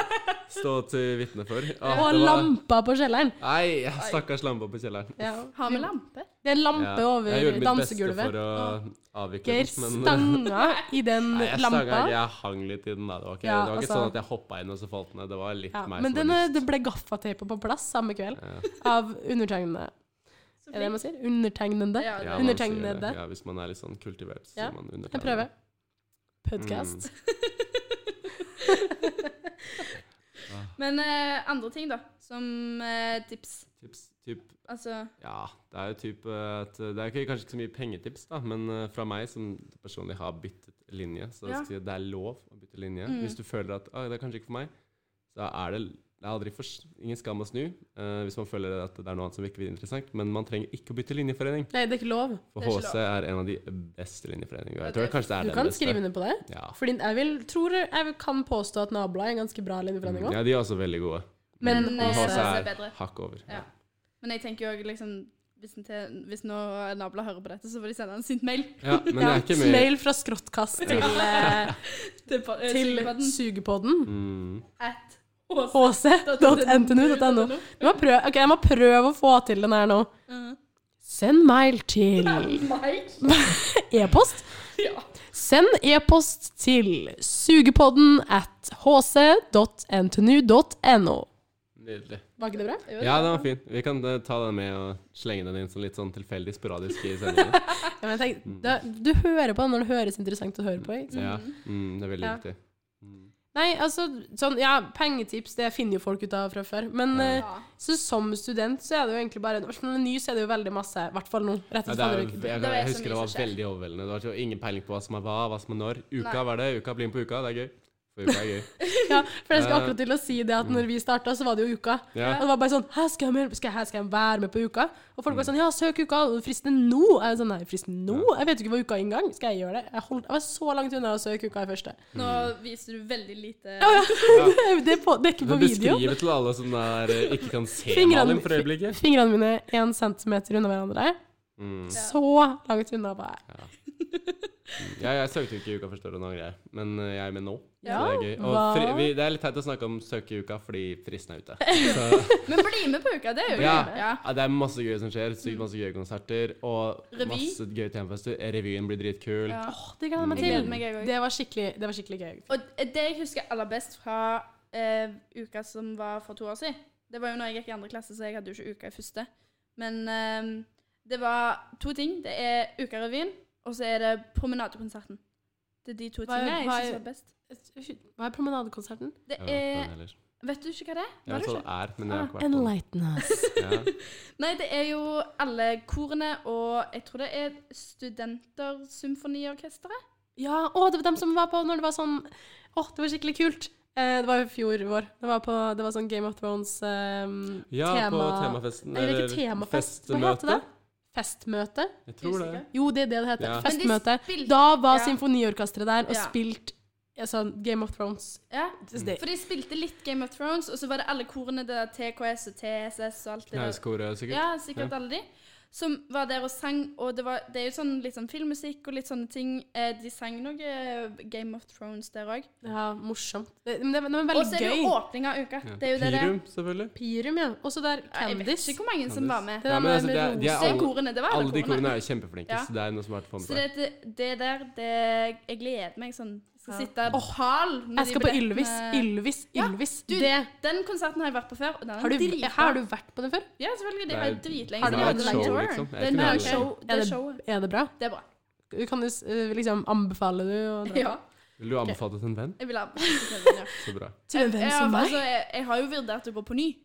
[SPEAKER 3] stå til vitne for. At
[SPEAKER 1] Og
[SPEAKER 3] det var-
[SPEAKER 1] lampa på kjelleren.
[SPEAKER 3] Nei, jeg stakkars lampa på kjelleren.
[SPEAKER 2] Har vi lampe?
[SPEAKER 1] Det er en lampe
[SPEAKER 3] Ja, Jeg
[SPEAKER 1] over
[SPEAKER 3] gjorde mitt beste
[SPEAKER 1] dansegulvet.
[SPEAKER 3] for å avvikle
[SPEAKER 1] Geir
[SPEAKER 3] den, men eh,
[SPEAKER 1] stanga i den
[SPEAKER 3] Nei, jeg,
[SPEAKER 1] lampa.
[SPEAKER 3] stanga- jeg hang litt i den. Da. Det var
[SPEAKER 1] Ja,
[SPEAKER 3] ikke, det var ikke
[SPEAKER 1] altså-
[SPEAKER 3] sånn at jeg hoppa inn og så falt den ned. Det var litt
[SPEAKER 1] Ja,
[SPEAKER 3] meg
[SPEAKER 1] men
[SPEAKER 3] som Eh,
[SPEAKER 1] den,
[SPEAKER 3] var
[SPEAKER 1] eh,
[SPEAKER 3] litt-
[SPEAKER 1] det ble gaffateipa på plass samme kveld
[SPEAKER 3] Ja.
[SPEAKER 1] av undertegnede.
[SPEAKER 2] Så
[SPEAKER 1] Er det det man
[SPEAKER 2] fint.
[SPEAKER 1] sier? Undertegnende.
[SPEAKER 2] Ja,
[SPEAKER 3] Ja, man
[SPEAKER 2] det-
[SPEAKER 3] sier
[SPEAKER 1] Undertegnede.
[SPEAKER 3] det. Ja, hvis man er litt sånn kultivert, så
[SPEAKER 1] Ja,
[SPEAKER 3] sier man undertegnede.
[SPEAKER 1] Jeg prøver. Podcast.
[SPEAKER 3] Mm.
[SPEAKER 2] Men eh, andre ting, da. Som eh, tips.
[SPEAKER 3] Tips, typ,
[SPEAKER 2] Altså
[SPEAKER 3] ja, det er jo typ eh, at Det er ikke- kanskje ikke så mye pengetips, da, men eh, fra meg som personlig har byttet linje, så
[SPEAKER 2] Ja.
[SPEAKER 3] skal jeg si at det er lov å bytte linje.
[SPEAKER 2] Mm.
[SPEAKER 3] Hvis du føler at ah, 'det er kanskje ikke for meg', så er det det er aldri for, s- ingen skam å snu eh, hvis man føler at det er noe annet som virker videre interessant. Men man trenger ikke å bytte linjeforening.
[SPEAKER 1] Nei, det er ikke lov.
[SPEAKER 3] For
[SPEAKER 2] Det er ikke
[SPEAKER 3] HC er en av de beste linjeforeningene.
[SPEAKER 2] Ja,
[SPEAKER 3] Jeg tror
[SPEAKER 2] det-
[SPEAKER 3] kanskje det er
[SPEAKER 1] Du
[SPEAKER 3] den
[SPEAKER 1] kan
[SPEAKER 3] beste.
[SPEAKER 1] skrive under på det.
[SPEAKER 3] Ja.
[SPEAKER 1] Fordi jeg vil, tror jeg kan påstå at Nabla er en ganske bra linjeforening òg.
[SPEAKER 3] ja, de er også veldig gode.
[SPEAKER 1] Men
[SPEAKER 2] Men,
[SPEAKER 1] også-
[SPEAKER 2] eh,
[SPEAKER 3] HC
[SPEAKER 2] er
[SPEAKER 3] er
[SPEAKER 2] bedre.
[SPEAKER 3] hakk over.
[SPEAKER 2] Ja. Men jeg tenker jo også, liksom hvis, en til, hvis nå nabla hører på dette, så får de sende en sint mail
[SPEAKER 3] Ja, men det
[SPEAKER 1] Ja,
[SPEAKER 3] er ikke mer
[SPEAKER 1] Mail fra skråttkast til, eh,
[SPEAKER 2] til, pa- eh,
[SPEAKER 1] til
[SPEAKER 2] sykepodden
[SPEAKER 1] sugepodden.
[SPEAKER 3] mm.
[SPEAKER 2] at
[SPEAKER 1] hc.ntnu.no. Jeg må prøve, ok, jeg må prøve å få til den her nå. Send mail til e-post.
[SPEAKER 2] Ja.
[SPEAKER 1] Send e-post til sugepodden at hc.ntnu.no.
[SPEAKER 3] Nydelig.
[SPEAKER 1] Var ikke det bra?
[SPEAKER 2] Jo,
[SPEAKER 3] Ja, den var fin. Vi kan eh, ta den med og slenge den inn sånn litt sånn tilfeldig, sporadisk i sendingen.
[SPEAKER 1] Ja, men jeg tenker,
[SPEAKER 3] Mm.
[SPEAKER 1] da, du hører på den når det høres interessant å høre på. Ikke? sant?
[SPEAKER 3] Ja. Mm, det er veldig
[SPEAKER 1] Ja.
[SPEAKER 3] viktig. Mm.
[SPEAKER 1] Nei, altså, sånn, ja, Pengetips det finner jo folk ut av fra før. Men
[SPEAKER 3] Ja.
[SPEAKER 1] eh,
[SPEAKER 2] Ja.
[SPEAKER 1] så som student så er det jo egentlig bare Når man er ny, så er det jo veldig masse. I hvert fall nå. Rett
[SPEAKER 3] Ja,
[SPEAKER 1] etter
[SPEAKER 3] det er,
[SPEAKER 1] ja,
[SPEAKER 3] jo- jeg,
[SPEAKER 2] Det
[SPEAKER 3] jeg,
[SPEAKER 2] var så
[SPEAKER 3] husker det
[SPEAKER 2] mye
[SPEAKER 3] var
[SPEAKER 2] som skjer.
[SPEAKER 3] veldig overveldende. Det var så ingen peiling på hva som er hva, hva som er når. Uka
[SPEAKER 2] Nei.
[SPEAKER 3] var det. Uka blir med på uka. Det er gøy. For uka er gøy.
[SPEAKER 1] ja, For jeg skal akkurat til å si det at
[SPEAKER 3] Mm.
[SPEAKER 1] når vi starta, så var det jo uka.
[SPEAKER 3] Ja.
[SPEAKER 1] Og det var bare sånn Hæ, skal jeg, med, skal, jeg, her skal jeg være med på uka? Og folk var
[SPEAKER 3] Mm.
[SPEAKER 1] sånn Ja, søk uka. og Fristen er nå. Jeg er sånn Nei, fristen nå? Jeg vet jo ikke hva uka er engang. Skal jeg gjøre det? Jeg, holdt, jeg var så langt unna å søke uka i første.
[SPEAKER 2] Nå
[SPEAKER 3] Mm.
[SPEAKER 2] viser du veldig lite
[SPEAKER 1] det, er på, det er ikke
[SPEAKER 3] Du
[SPEAKER 1] på video.
[SPEAKER 3] beskriver til alle som er, eh, ikke kan se Malin for
[SPEAKER 1] Fingrene,
[SPEAKER 3] øyeblikket.
[SPEAKER 1] fingrene mine er én centimeter unna hverandre.
[SPEAKER 3] Mm.
[SPEAKER 1] Så langt unna var jeg.
[SPEAKER 3] Ja, jeg søkte jo ikke i uka første året, nå angrer jeg. Men eh, jeg er med nå.
[SPEAKER 1] Ja,
[SPEAKER 3] så det er gøy. Og
[SPEAKER 1] hva?
[SPEAKER 3] fri, vi, det er litt teit å snakke om søke i uka fordi fristen er ute.
[SPEAKER 2] Men bli med på uka, det er jo
[SPEAKER 3] Ja.
[SPEAKER 2] gøy. Ja.
[SPEAKER 3] Ja, det er masse gøy som skjer. Sykt masse gøye konserter. Og
[SPEAKER 2] Mm. Revy.
[SPEAKER 3] masse gøye temafester. Revyen blir dritkul.
[SPEAKER 2] Ja.
[SPEAKER 1] Åh, det gleder jeg meg
[SPEAKER 2] Jeg gleder meg,
[SPEAKER 1] til.
[SPEAKER 2] jeg òg.
[SPEAKER 1] Det var skikkelig, det var skikkelig gøy.
[SPEAKER 2] Og det jeg husker aller best fra eh, uka som var for to år siden Det var jo når jeg gikk i andre klasse, så jeg hadde jo ikke uka i første. Men eh, det var to ting. Det er Ukarevyen, og så er det Promenadekonserten. Det er de to
[SPEAKER 1] Hva er-
[SPEAKER 2] tingene jeg
[SPEAKER 1] hva er-
[SPEAKER 2] syns var best.
[SPEAKER 1] Hva er promenadekonserten?
[SPEAKER 2] Det
[SPEAKER 3] Jeg vet ikke hva
[SPEAKER 2] er
[SPEAKER 3] den heller.
[SPEAKER 2] Vet du ikke Eh, hva det Ah, er?
[SPEAKER 3] Jeg
[SPEAKER 2] Var
[SPEAKER 3] vet
[SPEAKER 2] du
[SPEAKER 3] hva
[SPEAKER 2] ikke?
[SPEAKER 3] det er, men jeg har ikke vært på den.
[SPEAKER 1] Ah, Enlighten us.
[SPEAKER 3] Ja.
[SPEAKER 2] Nei, det er jo alle korene og jeg tror det er Studentersymfoniorkesteret.
[SPEAKER 1] Ja, å, det var dem som var på når det var sånn Å, det var skikkelig kult. Eh, det var i fjor vår. Det var, på, det var sånn Game of Thrones eh,
[SPEAKER 3] Ja,
[SPEAKER 1] tema...
[SPEAKER 3] på temafesten.
[SPEAKER 1] Nei, det er ikke
[SPEAKER 3] eller
[SPEAKER 1] temafest. Hva heter det? Festmøte?
[SPEAKER 3] Jeg tror det.
[SPEAKER 2] Usikker.
[SPEAKER 1] Jo, det er det det heter.
[SPEAKER 3] Ja.
[SPEAKER 2] Men de
[SPEAKER 1] Festmøte.
[SPEAKER 2] spilte-
[SPEAKER 1] Da var
[SPEAKER 2] Ja.
[SPEAKER 1] symfoniorkesteret der og
[SPEAKER 2] Ja. Mm.
[SPEAKER 1] spilt altså, Game of Thrones.
[SPEAKER 2] Ja.
[SPEAKER 1] Så det-
[SPEAKER 2] For de spilte litt Game of Thrones, og så var det alle korene, det der TKS og TSS og alt det der.
[SPEAKER 3] Knauskoret, sikkert.
[SPEAKER 2] Ja, sikkert alle de. Som var der og sang, og det, var, det er jo sånn, litt sånn filmmusikk og litt sånne ting. Eh, de sang noe eh, Game of Thrones der òg.
[SPEAKER 1] Ja, morsomt. Det, men det, men det var
[SPEAKER 2] Og
[SPEAKER 1] veldig
[SPEAKER 2] så er det jo
[SPEAKER 1] gøy.
[SPEAKER 2] åpning av uka.
[SPEAKER 3] Ja.
[SPEAKER 2] Det er jo det det er.
[SPEAKER 3] Pirum, selvfølgelig.
[SPEAKER 1] Pirum, ja. Og så der
[SPEAKER 2] Ja, Jeg vet
[SPEAKER 1] Candice.
[SPEAKER 2] ikke hvor mange som
[SPEAKER 3] Candice.
[SPEAKER 2] var med.
[SPEAKER 1] Det
[SPEAKER 3] Ja,
[SPEAKER 1] der
[SPEAKER 3] men
[SPEAKER 1] med,
[SPEAKER 3] altså,
[SPEAKER 1] med
[SPEAKER 3] det er- de er
[SPEAKER 1] roser.
[SPEAKER 2] Det er korene, det var
[SPEAKER 3] Alle de korene
[SPEAKER 2] korene.
[SPEAKER 3] er jo kjempeflinke,
[SPEAKER 2] Ja.
[SPEAKER 3] så det er noe som har vært fun
[SPEAKER 2] Så det, det, det der, det Jeg gleder meg sånn. Skal
[SPEAKER 1] Ja.
[SPEAKER 2] sitte pal med
[SPEAKER 1] Jeg
[SPEAKER 2] de
[SPEAKER 1] skal på Ylvis.
[SPEAKER 2] billettene.
[SPEAKER 1] Ylvis,
[SPEAKER 2] Ja,
[SPEAKER 1] Ylvis.
[SPEAKER 2] du,
[SPEAKER 1] det
[SPEAKER 2] Den konserten har jeg vært på før, og den
[SPEAKER 1] har
[SPEAKER 2] er
[SPEAKER 1] du,
[SPEAKER 2] dritbra.
[SPEAKER 1] har du vært på den før?
[SPEAKER 2] Ja, selvfølgelig. De
[SPEAKER 3] Det
[SPEAKER 2] har
[SPEAKER 3] er-
[SPEAKER 2] jo dritlenge.
[SPEAKER 1] Har du
[SPEAKER 2] de har
[SPEAKER 1] vært
[SPEAKER 2] jo
[SPEAKER 1] show,
[SPEAKER 2] lang tour.
[SPEAKER 3] liksom? Jeg
[SPEAKER 2] Det er
[SPEAKER 3] kunne
[SPEAKER 2] mye
[SPEAKER 3] aldri-
[SPEAKER 2] show. Det
[SPEAKER 1] Er
[SPEAKER 2] er
[SPEAKER 1] det-
[SPEAKER 2] showet.
[SPEAKER 1] Er det bra?
[SPEAKER 2] Det er bra.
[SPEAKER 1] Du kan jo s- eh, liksom anbefale du å dra.
[SPEAKER 2] Ja.
[SPEAKER 3] Vil du anbefale det til en venn?
[SPEAKER 2] Jeg vil ha ja.
[SPEAKER 3] Så bra.
[SPEAKER 1] Til hvem
[SPEAKER 2] Ja,
[SPEAKER 1] som
[SPEAKER 2] men
[SPEAKER 1] meg?
[SPEAKER 2] altså, jeg, jeg har jo vurdert å gå på ny.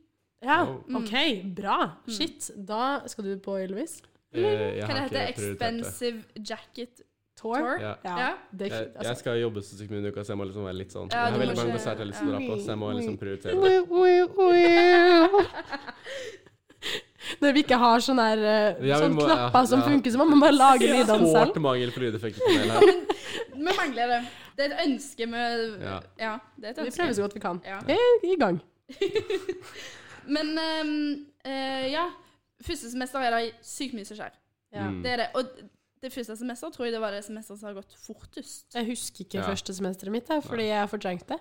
[SPEAKER 1] Ja,
[SPEAKER 3] Mm.
[SPEAKER 1] OK, bra.
[SPEAKER 2] Mm.
[SPEAKER 1] Shit. Da skal du på Ylvis.
[SPEAKER 3] Eh, jeg
[SPEAKER 2] Hva det
[SPEAKER 3] har ikke
[SPEAKER 2] heter det?
[SPEAKER 3] prioritert det.
[SPEAKER 2] Expensive Jacket
[SPEAKER 1] Tour.
[SPEAKER 2] Tour?
[SPEAKER 3] Ja.
[SPEAKER 1] Ja, det er
[SPEAKER 3] Jeg,
[SPEAKER 1] ikke
[SPEAKER 3] jeg
[SPEAKER 1] altså.
[SPEAKER 3] skal jobbe så sykt mye denne uka, så jeg må liksom være litt sånn Jeg
[SPEAKER 2] Ja, du
[SPEAKER 3] har
[SPEAKER 2] må
[SPEAKER 3] veldig mange
[SPEAKER 2] ikke-
[SPEAKER 3] konserter jeg har lyst til å dra på, så jeg må liksom prioritere det.
[SPEAKER 1] Ui, ui, ui. Når vi ikke har sånne, her, eh,
[SPEAKER 3] Ja, vi
[SPEAKER 1] sånne
[SPEAKER 3] må- ja,
[SPEAKER 1] knapper som
[SPEAKER 3] ja.
[SPEAKER 1] funker, så må man bare lage lydene selv.
[SPEAKER 3] Sårt mangel på lydeffekter på mail her.
[SPEAKER 2] Vi mangler det. Det er et ønske med Ja,
[SPEAKER 3] Ja.
[SPEAKER 2] det er et
[SPEAKER 1] Vi
[SPEAKER 2] ønske.
[SPEAKER 1] prøver så godt vi kan.
[SPEAKER 2] Ja.
[SPEAKER 1] Vi er i gang.
[SPEAKER 2] Men ehm, eh, ja. Første semester er det sykt mye som skjer.
[SPEAKER 1] Ja.
[SPEAKER 3] Mm.
[SPEAKER 2] Det er det. Og det første semester tror jeg det var det semesteret som har gått fortest.
[SPEAKER 1] Jeg husker ikke
[SPEAKER 3] Ja.
[SPEAKER 1] første semesteret mitt, jeg, fordi jeg fortrengte det.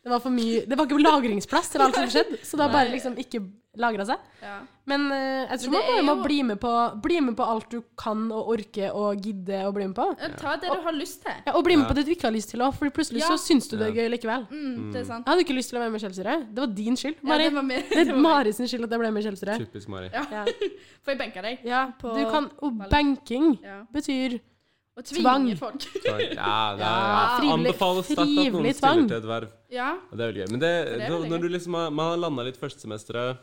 [SPEAKER 1] Det var for mye Det var ikke lagringsplass til alt som skjedde, så det har bare liksom ikke lagra seg.
[SPEAKER 2] Ja.
[SPEAKER 1] Men eh, jeg tror
[SPEAKER 2] Men
[SPEAKER 1] man
[SPEAKER 2] det
[SPEAKER 1] bare
[SPEAKER 2] er
[SPEAKER 1] må
[SPEAKER 2] jo-
[SPEAKER 1] bli med, på, bli med på alt du kan og orker og gidder å bli med på.
[SPEAKER 2] Eh, Ta det du har lyst til.
[SPEAKER 1] Ja, og bli med
[SPEAKER 3] Ja.
[SPEAKER 1] på det du ikke har lyst til òg, for plutselig
[SPEAKER 2] Ja.
[SPEAKER 1] så syns du det er
[SPEAKER 3] Ja.
[SPEAKER 1] gøy likevel.
[SPEAKER 2] Mm, det er sant.
[SPEAKER 1] Jeg hadde ikke lyst til å være med i Kjelsrud. Det var din skyld.
[SPEAKER 2] Ja,
[SPEAKER 1] Mari.
[SPEAKER 2] det var med.
[SPEAKER 1] det
[SPEAKER 2] det
[SPEAKER 1] er
[SPEAKER 2] var med.
[SPEAKER 1] Mari sin skyld at jeg ble med i Kjelsrud.
[SPEAKER 3] Typisk Mari.
[SPEAKER 2] Ja.
[SPEAKER 1] Ja.
[SPEAKER 2] For jeg benka deg.
[SPEAKER 1] Ja,
[SPEAKER 2] På-
[SPEAKER 1] du kan, og banking
[SPEAKER 2] Ja.
[SPEAKER 1] betyr
[SPEAKER 2] Og
[SPEAKER 1] Tvang.
[SPEAKER 2] tvinge folk.
[SPEAKER 3] Ja, det er,
[SPEAKER 1] Ja, frivillig-
[SPEAKER 3] anbefales sterkt at noen
[SPEAKER 1] frivillig
[SPEAKER 3] stiller
[SPEAKER 1] tvang.
[SPEAKER 3] til et verv.
[SPEAKER 2] ja.
[SPEAKER 3] Ja, Det er veldig gøy. Men det,
[SPEAKER 2] det er
[SPEAKER 3] når-
[SPEAKER 2] veldig
[SPEAKER 3] når
[SPEAKER 2] gøy.
[SPEAKER 3] du liksom har, man har landa litt førstesemesteret,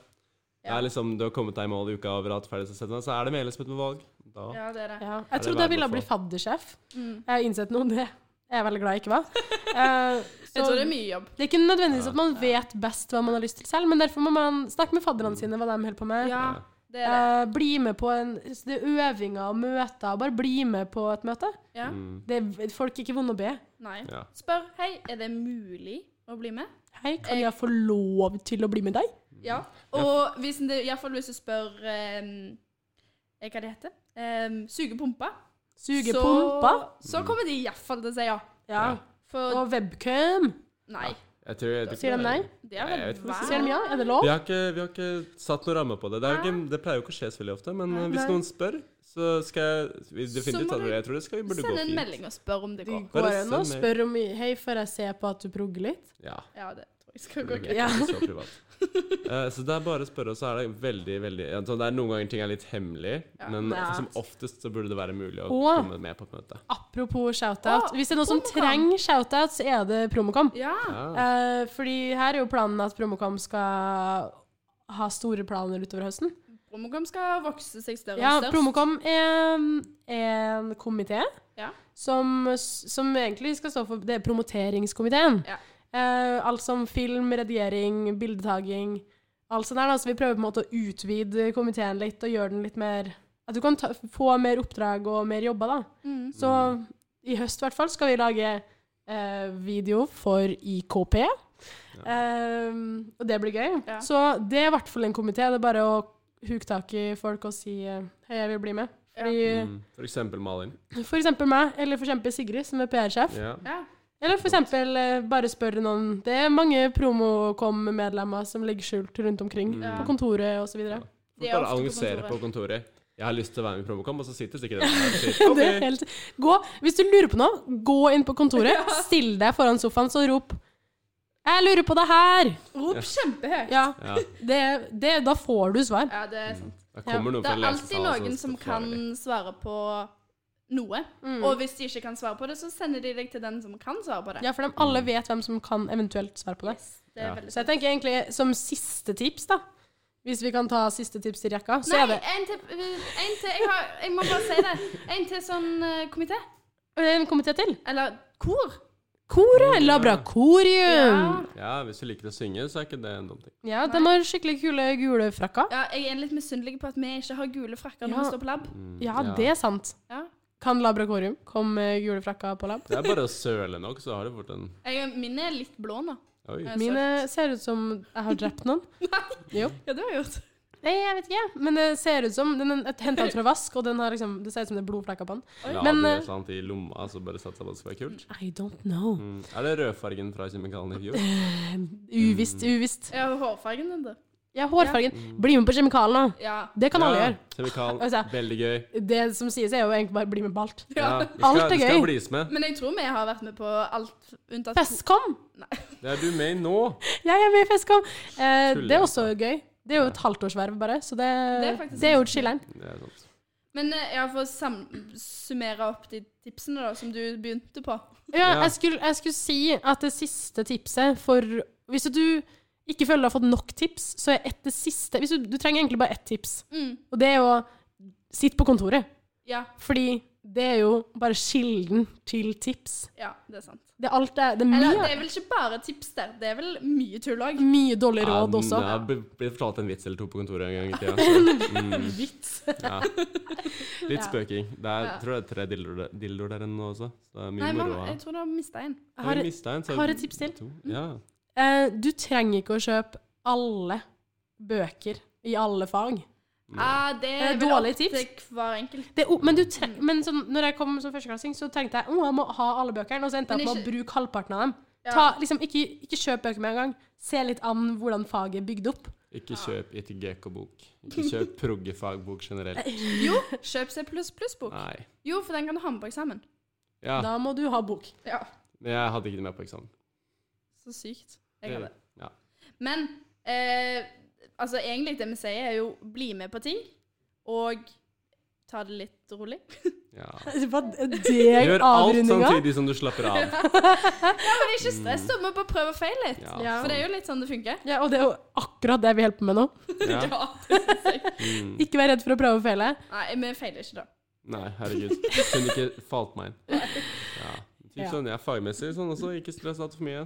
[SPEAKER 2] Ja.
[SPEAKER 3] er liksom, du har kommet deg i mål i uka over alt ferdig, så setter man- så er det medlemskap med valg. Da.
[SPEAKER 2] ja, det er det.
[SPEAKER 1] Ja.
[SPEAKER 3] Er
[SPEAKER 1] Jeg
[SPEAKER 3] det
[SPEAKER 1] trodde jeg ville
[SPEAKER 3] verden å
[SPEAKER 1] bli
[SPEAKER 3] få?
[SPEAKER 1] faddersjef.
[SPEAKER 2] Mm.
[SPEAKER 1] Jeg har innsett noe om det. Jeg er veldig glad jeg ikke var. Eh, så
[SPEAKER 2] Jeg tror det er mye jobb.
[SPEAKER 1] det er ikke nødvendigvis
[SPEAKER 3] Ja.
[SPEAKER 1] at man vet best hva man har lyst til selv, men derfor må man snakke med
[SPEAKER 3] Mm.
[SPEAKER 1] fadderne sine hva de holder på med.
[SPEAKER 2] Ja,
[SPEAKER 3] Ja.
[SPEAKER 2] det er det.
[SPEAKER 1] Eh, bli med på en, det er øvinger og møter. Bare bli med på et møte.
[SPEAKER 2] Ja.
[SPEAKER 3] Mm,
[SPEAKER 1] Det er, folk er ikke vonde å be.
[SPEAKER 2] Nei.
[SPEAKER 3] ja.
[SPEAKER 2] Spør hei, er det mulig å bli med?
[SPEAKER 1] Hei, kan jeg få lov til å bli med deg?
[SPEAKER 2] Ja. Og hvis det iallfall hvis du spør ehm, eh, Hva det heter Ehm, Sugepumpa.
[SPEAKER 1] Suge
[SPEAKER 2] så-
[SPEAKER 1] pumpa.
[SPEAKER 2] Så kommer de iallfall til å si ja.
[SPEAKER 1] Ja.
[SPEAKER 3] Ja.
[SPEAKER 2] For
[SPEAKER 1] Og webcam.
[SPEAKER 2] nei,
[SPEAKER 3] Jeg tror, jeg, tror-
[SPEAKER 1] Sier de nei?
[SPEAKER 2] det er
[SPEAKER 3] Nei, jeg
[SPEAKER 2] vel
[SPEAKER 3] vet ikke.
[SPEAKER 2] hver
[SPEAKER 1] Sier de ja? Er det lov?
[SPEAKER 3] Vi har, ikke, vi har ikke satt noen ramme på det. Det, er jo ikke, det pleier jo ikke å skje så veldig ofte, men eh, hvis
[SPEAKER 1] Nei.
[SPEAKER 3] noen spør, så skal jeg vi definitivt
[SPEAKER 2] Så må
[SPEAKER 3] ta det. Jeg tror det skal, burde gå
[SPEAKER 2] Send en
[SPEAKER 3] fint.
[SPEAKER 2] melding og spør om det
[SPEAKER 1] Du
[SPEAKER 2] går.
[SPEAKER 1] går
[SPEAKER 3] Bare
[SPEAKER 1] an og
[SPEAKER 3] send meg.
[SPEAKER 1] spør om Hei, får jeg se på at du progger litt?
[SPEAKER 3] Ja.
[SPEAKER 2] Ja, det tror jeg skal gå
[SPEAKER 3] Det
[SPEAKER 2] greit.
[SPEAKER 1] Ja.
[SPEAKER 3] er ikke så privat. Eh, så det er bare å spørre, og så er det veldig, veldig ja, så Det er noen ganger ting er litt hemmelig,
[SPEAKER 2] Ja.
[SPEAKER 3] men
[SPEAKER 1] Ja.
[SPEAKER 3] som oftest så burde det være mulig å
[SPEAKER 1] Og-
[SPEAKER 3] komme med på et møte.
[SPEAKER 1] Apropos shoutout.
[SPEAKER 2] Å,
[SPEAKER 1] Hvis det er noen som
[SPEAKER 2] Promocom.
[SPEAKER 1] trenger shoutout, så er det Promocom.
[SPEAKER 2] Ja.
[SPEAKER 3] Ja.
[SPEAKER 1] Eh, fordi her er jo planen at Promocom skal ha store planer utover høsten.
[SPEAKER 2] Promocom skal vokse seg større
[SPEAKER 1] Ja,
[SPEAKER 2] og størst.
[SPEAKER 1] Promocom er mm, en komité
[SPEAKER 2] Ja.
[SPEAKER 1] som, som egentlig skal stå for Det er promoteringskomiteen.
[SPEAKER 2] Ja.
[SPEAKER 1] Eh, alt som film, redigering, bildetaking, alt sånt der. da. Så vi prøver på en måte å utvide komiteen litt og gjøre den litt mer At du kan ta, få mer oppdrag og mer jobber, da.
[SPEAKER 2] Mm.
[SPEAKER 1] Så i høst i hvert fall skal vi lage eh, video for IKP. Ehm, og det blir gøy.
[SPEAKER 2] Ja.
[SPEAKER 1] Så det er i hvert fall en komité. Det er bare å huke tak i folk og si eh, hei, jeg vil bli med. Fordi,
[SPEAKER 3] Mm. For eksempel Malin.
[SPEAKER 1] For eksempel meg, eller for eksempel Sigrid, som er PR-sjef.
[SPEAKER 3] Ja.
[SPEAKER 2] Ja.
[SPEAKER 1] Eller for eksempel eh, bare spørre noen. Det er mange Promocom-medlemmer som ligger skjult rundt omkring.
[SPEAKER 2] Ja.
[SPEAKER 1] På kontoret og så videre.
[SPEAKER 2] De
[SPEAKER 3] Folk
[SPEAKER 2] er
[SPEAKER 3] bare
[SPEAKER 2] ofte på
[SPEAKER 3] annonserer
[SPEAKER 2] kontoret.
[SPEAKER 3] på kontoret. 'Jeg har lyst til å være med i Promocom', og så sitter sikkert den der og sier
[SPEAKER 1] Det er
[SPEAKER 3] 'OK,
[SPEAKER 1] helt, gå, hvis du lurer på noe, gå inn på kontoret, still deg foran sofaen, så rop 'Jeg lurer på det her!'
[SPEAKER 2] Rop kjempehøyt.
[SPEAKER 1] Ja,
[SPEAKER 3] Ja.
[SPEAKER 1] det, det, da får du svar.
[SPEAKER 2] Ja, det er sant.
[SPEAKER 3] Da kommer noen
[SPEAKER 2] Det
[SPEAKER 3] fra
[SPEAKER 2] er alltid
[SPEAKER 3] lesesalen
[SPEAKER 2] noen som
[SPEAKER 3] forklarer
[SPEAKER 2] kan
[SPEAKER 3] de.
[SPEAKER 2] svare på noe.
[SPEAKER 1] Mm.
[SPEAKER 2] Og hvis de ikke kan svare på det, så sender de deg til den som kan svare på det.
[SPEAKER 1] Ja, for de alle vet hvem som kan eventuelt svare på det.
[SPEAKER 2] Yes, det er
[SPEAKER 3] Ja.
[SPEAKER 2] veldig
[SPEAKER 1] Så jeg tenker egentlig som siste tips, da. Hvis vi kan ta siste tips til rekka, så
[SPEAKER 2] Nei,
[SPEAKER 1] er det
[SPEAKER 2] en til, en til jeg, har, jeg må bare si det. En til sånn eh, komité.
[SPEAKER 1] En komité til.
[SPEAKER 2] Eller kor.
[SPEAKER 1] Koret! Labra Mm.
[SPEAKER 2] Ja.
[SPEAKER 1] Korium!
[SPEAKER 3] Ja, hvis du liker å synge, så er ikke det en dum ting.
[SPEAKER 1] Ja, den har skikkelig kule gule frakker.
[SPEAKER 2] ja, jeg er litt misunnelig på at vi ikke har gule frakker når
[SPEAKER 1] Ja.
[SPEAKER 2] vi står på lab.
[SPEAKER 3] Mm,
[SPEAKER 1] Ja, det er sant.
[SPEAKER 2] Ja.
[SPEAKER 1] Kan Labra Korium komme med gule frakker på lab?
[SPEAKER 3] Det er bare å søle nok, så har du fort en
[SPEAKER 2] Jeg, min er litt blå nå.
[SPEAKER 3] Oi.
[SPEAKER 2] Ja.
[SPEAKER 1] Mine ser ut som jeg har drept noen. Jo.
[SPEAKER 2] Ja, det har jeg gjort.
[SPEAKER 1] Nei, jeg vet ikke, men det ser ut som Den er henta ut fra vask, og den har liksom, det ser ut som det er blodflekker på den.
[SPEAKER 3] La
[SPEAKER 1] Men,
[SPEAKER 3] det
[SPEAKER 1] eh,
[SPEAKER 3] sant i lomma, så bare satsa på at det skal være kult.
[SPEAKER 1] I don't know.
[SPEAKER 3] Mm. Er det rødfargen fra kjemikalien i fjor?
[SPEAKER 1] Uvisst,
[SPEAKER 3] Mm.
[SPEAKER 1] uvisst.
[SPEAKER 2] Jeg har hårfargen din, da.
[SPEAKER 1] Ja, hårfargen. Bli med på kjemikalen nå.
[SPEAKER 2] Ja.
[SPEAKER 1] Det kan alle
[SPEAKER 3] Ja,
[SPEAKER 1] gjøre.
[SPEAKER 3] Kjemikal.
[SPEAKER 1] Altså-
[SPEAKER 3] Veldig gøy.
[SPEAKER 1] Det som sies, er jo egentlig bare bli med på alt.
[SPEAKER 2] ja.
[SPEAKER 3] Ja, du
[SPEAKER 1] Alt
[SPEAKER 3] skal,
[SPEAKER 1] er
[SPEAKER 3] du skal
[SPEAKER 1] gøy.
[SPEAKER 3] blis med.
[SPEAKER 2] Men jeg tror vi har vært med på alt unntatt
[SPEAKER 1] Festcom!
[SPEAKER 3] Det er du med i nå.
[SPEAKER 1] Jeg er med i Festcom! Eh, det er også gøy. Det er jo
[SPEAKER 3] altså. Ja.
[SPEAKER 1] et halvtårsverv, bare, så det, det,
[SPEAKER 2] er
[SPEAKER 1] er,
[SPEAKER 2] faktisk
[SPEAKER 1] jo chiller'n.
[SPEAKER 3] Det er sant.
[SPEAKER 2] Men eh, ja, for å sam summere opp de tipsene da, som du begynte på.
[SPEAKER 1] Ja,
[SPEAKER 3] Ja.
[SPEAKER 1] jeg skulle, jeg skulle si at det siste tipset for Hvis du ikke føler du har fått nok tips, så er ett det siste hvis du, du trenger egentlig bare ett tips,
[SPEAKER 2] Mm.
[SPEAKER 1] og det er jo Sitt på kontoret.
[SPEAKER 2] Ja,
[SPEAKER 1] Fordi det er jo bare kilden til tips.
[SPEAKER 2] ja, det er sant.
[SPEAKER 1] Det er alt det er. Det er
[SPEAKER 2] Eller
[SPEAKER 1] mye,
[SPEAKER 2] det er vel ikke bare tips der, det er vel mye tull òg.
[SPEAKER 1] mye dårlig råd også.
[SPEAKER 3] Jeg har blitt fortalt en vits eller to på kontoret en gang i tida. Mm,
[SPEAKER 1] Vits.
[SPEAKER 3] ja. Litt spøking. Det er,
[SPEAKER 2] Ja.
[SPEAKER 3] tror jeg det er tre dildoer dildoer der inne nå også. Så det er mye
[SPEAKER 2] Nei,
[SPEAKER 3] moro
[SPEAKER 2] mamma,
[SPEAKER 3] å ha.
[SPEAKER 2] jeg tror du har mista en.
[SPEAKER 1] Jeg har,
[SPEAKER 3] vi mistet en, så-
[SPEAKER 1] jeg har et tips til.
[SPEAKER 3] to. Ja.
[SPEAKER 1] eh, du trenger ikke å kjøpe alle bøker i alle fag.
[SPEAKER 2] Ah, det
[SPEAKER 1] Det er
[SPEAKER 2] er vel
[SPEAKER 1] dårlige
[SPEAKER 2] opp til
[SPEAKER 1] tips.
[SPEAKER 2] hver enkelt.
[SPEAKER 1] Det, er o- men du tre, men som, når jeg kom som førsteklassing, så tenkte jeg at jeg må ha alle bøkene. Og så endte jeg
[SPEAKER 2] Men
[SPEAKER 1] opp med å bruke halvparten av dem.
[SPEAKER 2] Ja.
[SPEAKER 1] Ta, liksom, ikke, ikke kjøp bøker med en gang. Se litt an hvordan faget er bygd opp.
[SPEAKER 3] Ikke kjøp ITGK-bok. Ikke kjøp proggefagbok
[SPEAKER 2] Eh,
[SPEAKER 3] generelt.
[SPEAKER 2] Jo, kjøp C pluss-pluss-bok.
[SPEAKER 3] Nei.
[SPEAKER 2] Jo, for den kan du ha med på eksamen.
[SPEAKER 3] Ja,
[SPEAKER 1] Da må du ha bok.
[SPEAKER 2] Ja,
[SPEAKER 3] men jeg hadde ikke det med på eksamen.
[SPEAKER 2] Så sykt. Jeg hadde.
[SPEAKER 3] Ja.
[SPEAKER 2] Men eh, altså, egentlig det vi sier, er jo bli med på ting, og ta det litt rolig.
[SPEAKER 3] Ja.
[SPEAKER 1] Hva er det
[SPEAKER 3] Gjør alt sånn
[SPEAKER 1] avrundinga?
[SPEAKER 3] samtidig som du slapper av.
[SPEAKER 2] Men ikke stress, da. Vi må bare prøve og feile litt.
[SPEAKER 3] Ja,
[SPEAKER 1] Ja.
[SPEAKER 2] For det er jo litt sånn det funker.
[SPEAKER 1] Ja, og det er jo akkurat det vi holder på med nå.
[SPEAKER 3] Ja.
[SPEAKER 2] det synes jeg.
[SPEAKER 3] Mm.
[SPEAKER 1] Ikke vær redd for å prøve å feile.
[SPEAKER 2] Nei, vi feiler ikke da.
[SPEAKER 3] Nei, herregud. Kunne ikke falt meg inn. Ja. Typ
[SPEAKER 1] Ja.
[SPEAKER 3] sånn, jeg er fagmessig sånn også. Ikke stress alt for mye.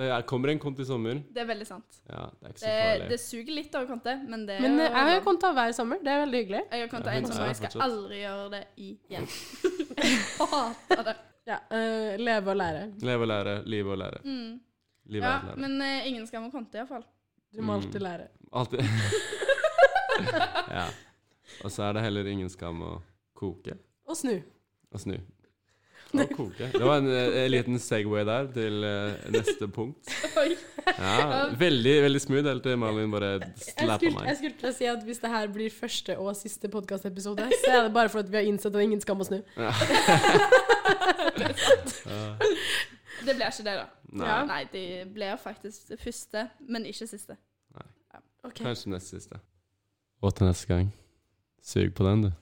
[SPEAKER 3] Det er, kommer en kont i sommer.
[SPEAKER 2] Det er veldig sant.
[SPEAKER 3] Ja, det er ikke
[SPEAKER 2] Det,
[SPEAKER 3] så farlig.
[SPEAKER 2] det suger litt av konte, men det er
[SPEAKER 1] Men eh,
[SPEAKER 2] jo
[SPEAKER 1] jeg har jo
[SPEAKER 2] bra.
[SPEAKER 1] konta hver sommer. Det er veldig hyggelig.
[SPEAKER 2] Jeg har konta
[SPEAKER 3] Ja,
[SPEAKER 2] en
[SPEAKER 3] hun
[SPEAKER 2] som jeg
[SPEAKER 3] er
[SPEAKER 2] skal
[SPEAKER 3] fortsatt.
[SPEAKER 2] aldri gjøre det igjen. jeg hater det.
[SPEAKER 1] Ja, eh, Leve og lære.
[SPEAKER 3] Leve og lære, live og lære.
[SPEAKER 2] Mm.
[SPEAKER 3] Livet
[SPEAKER 2] Ja,
[SPEAKER 3] er et lære.
[SPEAKER 2] men eh, ingen skam å konte, iallfall.
[SPEAKER 1] Du må
[SPEAKER 3] Mm.
[SPEAKER 1] alltid lære.
[SPEAKER 3] Alltid. ja. Og så er det heller ingen skam å koke
[SPEAKER 1] Og snu.
[SPEAKER 3] og snu. Å koke. Det var en, eh, liten Segway der til eh, neste punkt.
[SPEAKER 2] Oi.
[SPEAKER 3] Ja, veldig veldig smooth helt til Malin bare
[SPEAKER 1] Jeg
[SPEAKER 3] slappa
[SPEAKER 1] skulle, jeg
[SPEAKER 3] meg.
[SPEAKER 1] skulle til å si at hvis det her blir første og siste podkastepisode, så er det bare fordi vi har innsett at ingen skam å snu.
[SPEAKER 2] Det blir ikke det, da.
[SPEAKER 3] Nei.
[SPEAKER 2] Ja, Nei, det blir faktisk det første, men ikke siste.
[SPEAKER 1] Ok.
[SPEAKER 3] Kanskje neste siste. Og til neste gang. Sug på den, du.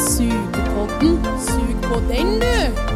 [SPEAKER 1] Sugepodden. Sug på den, du!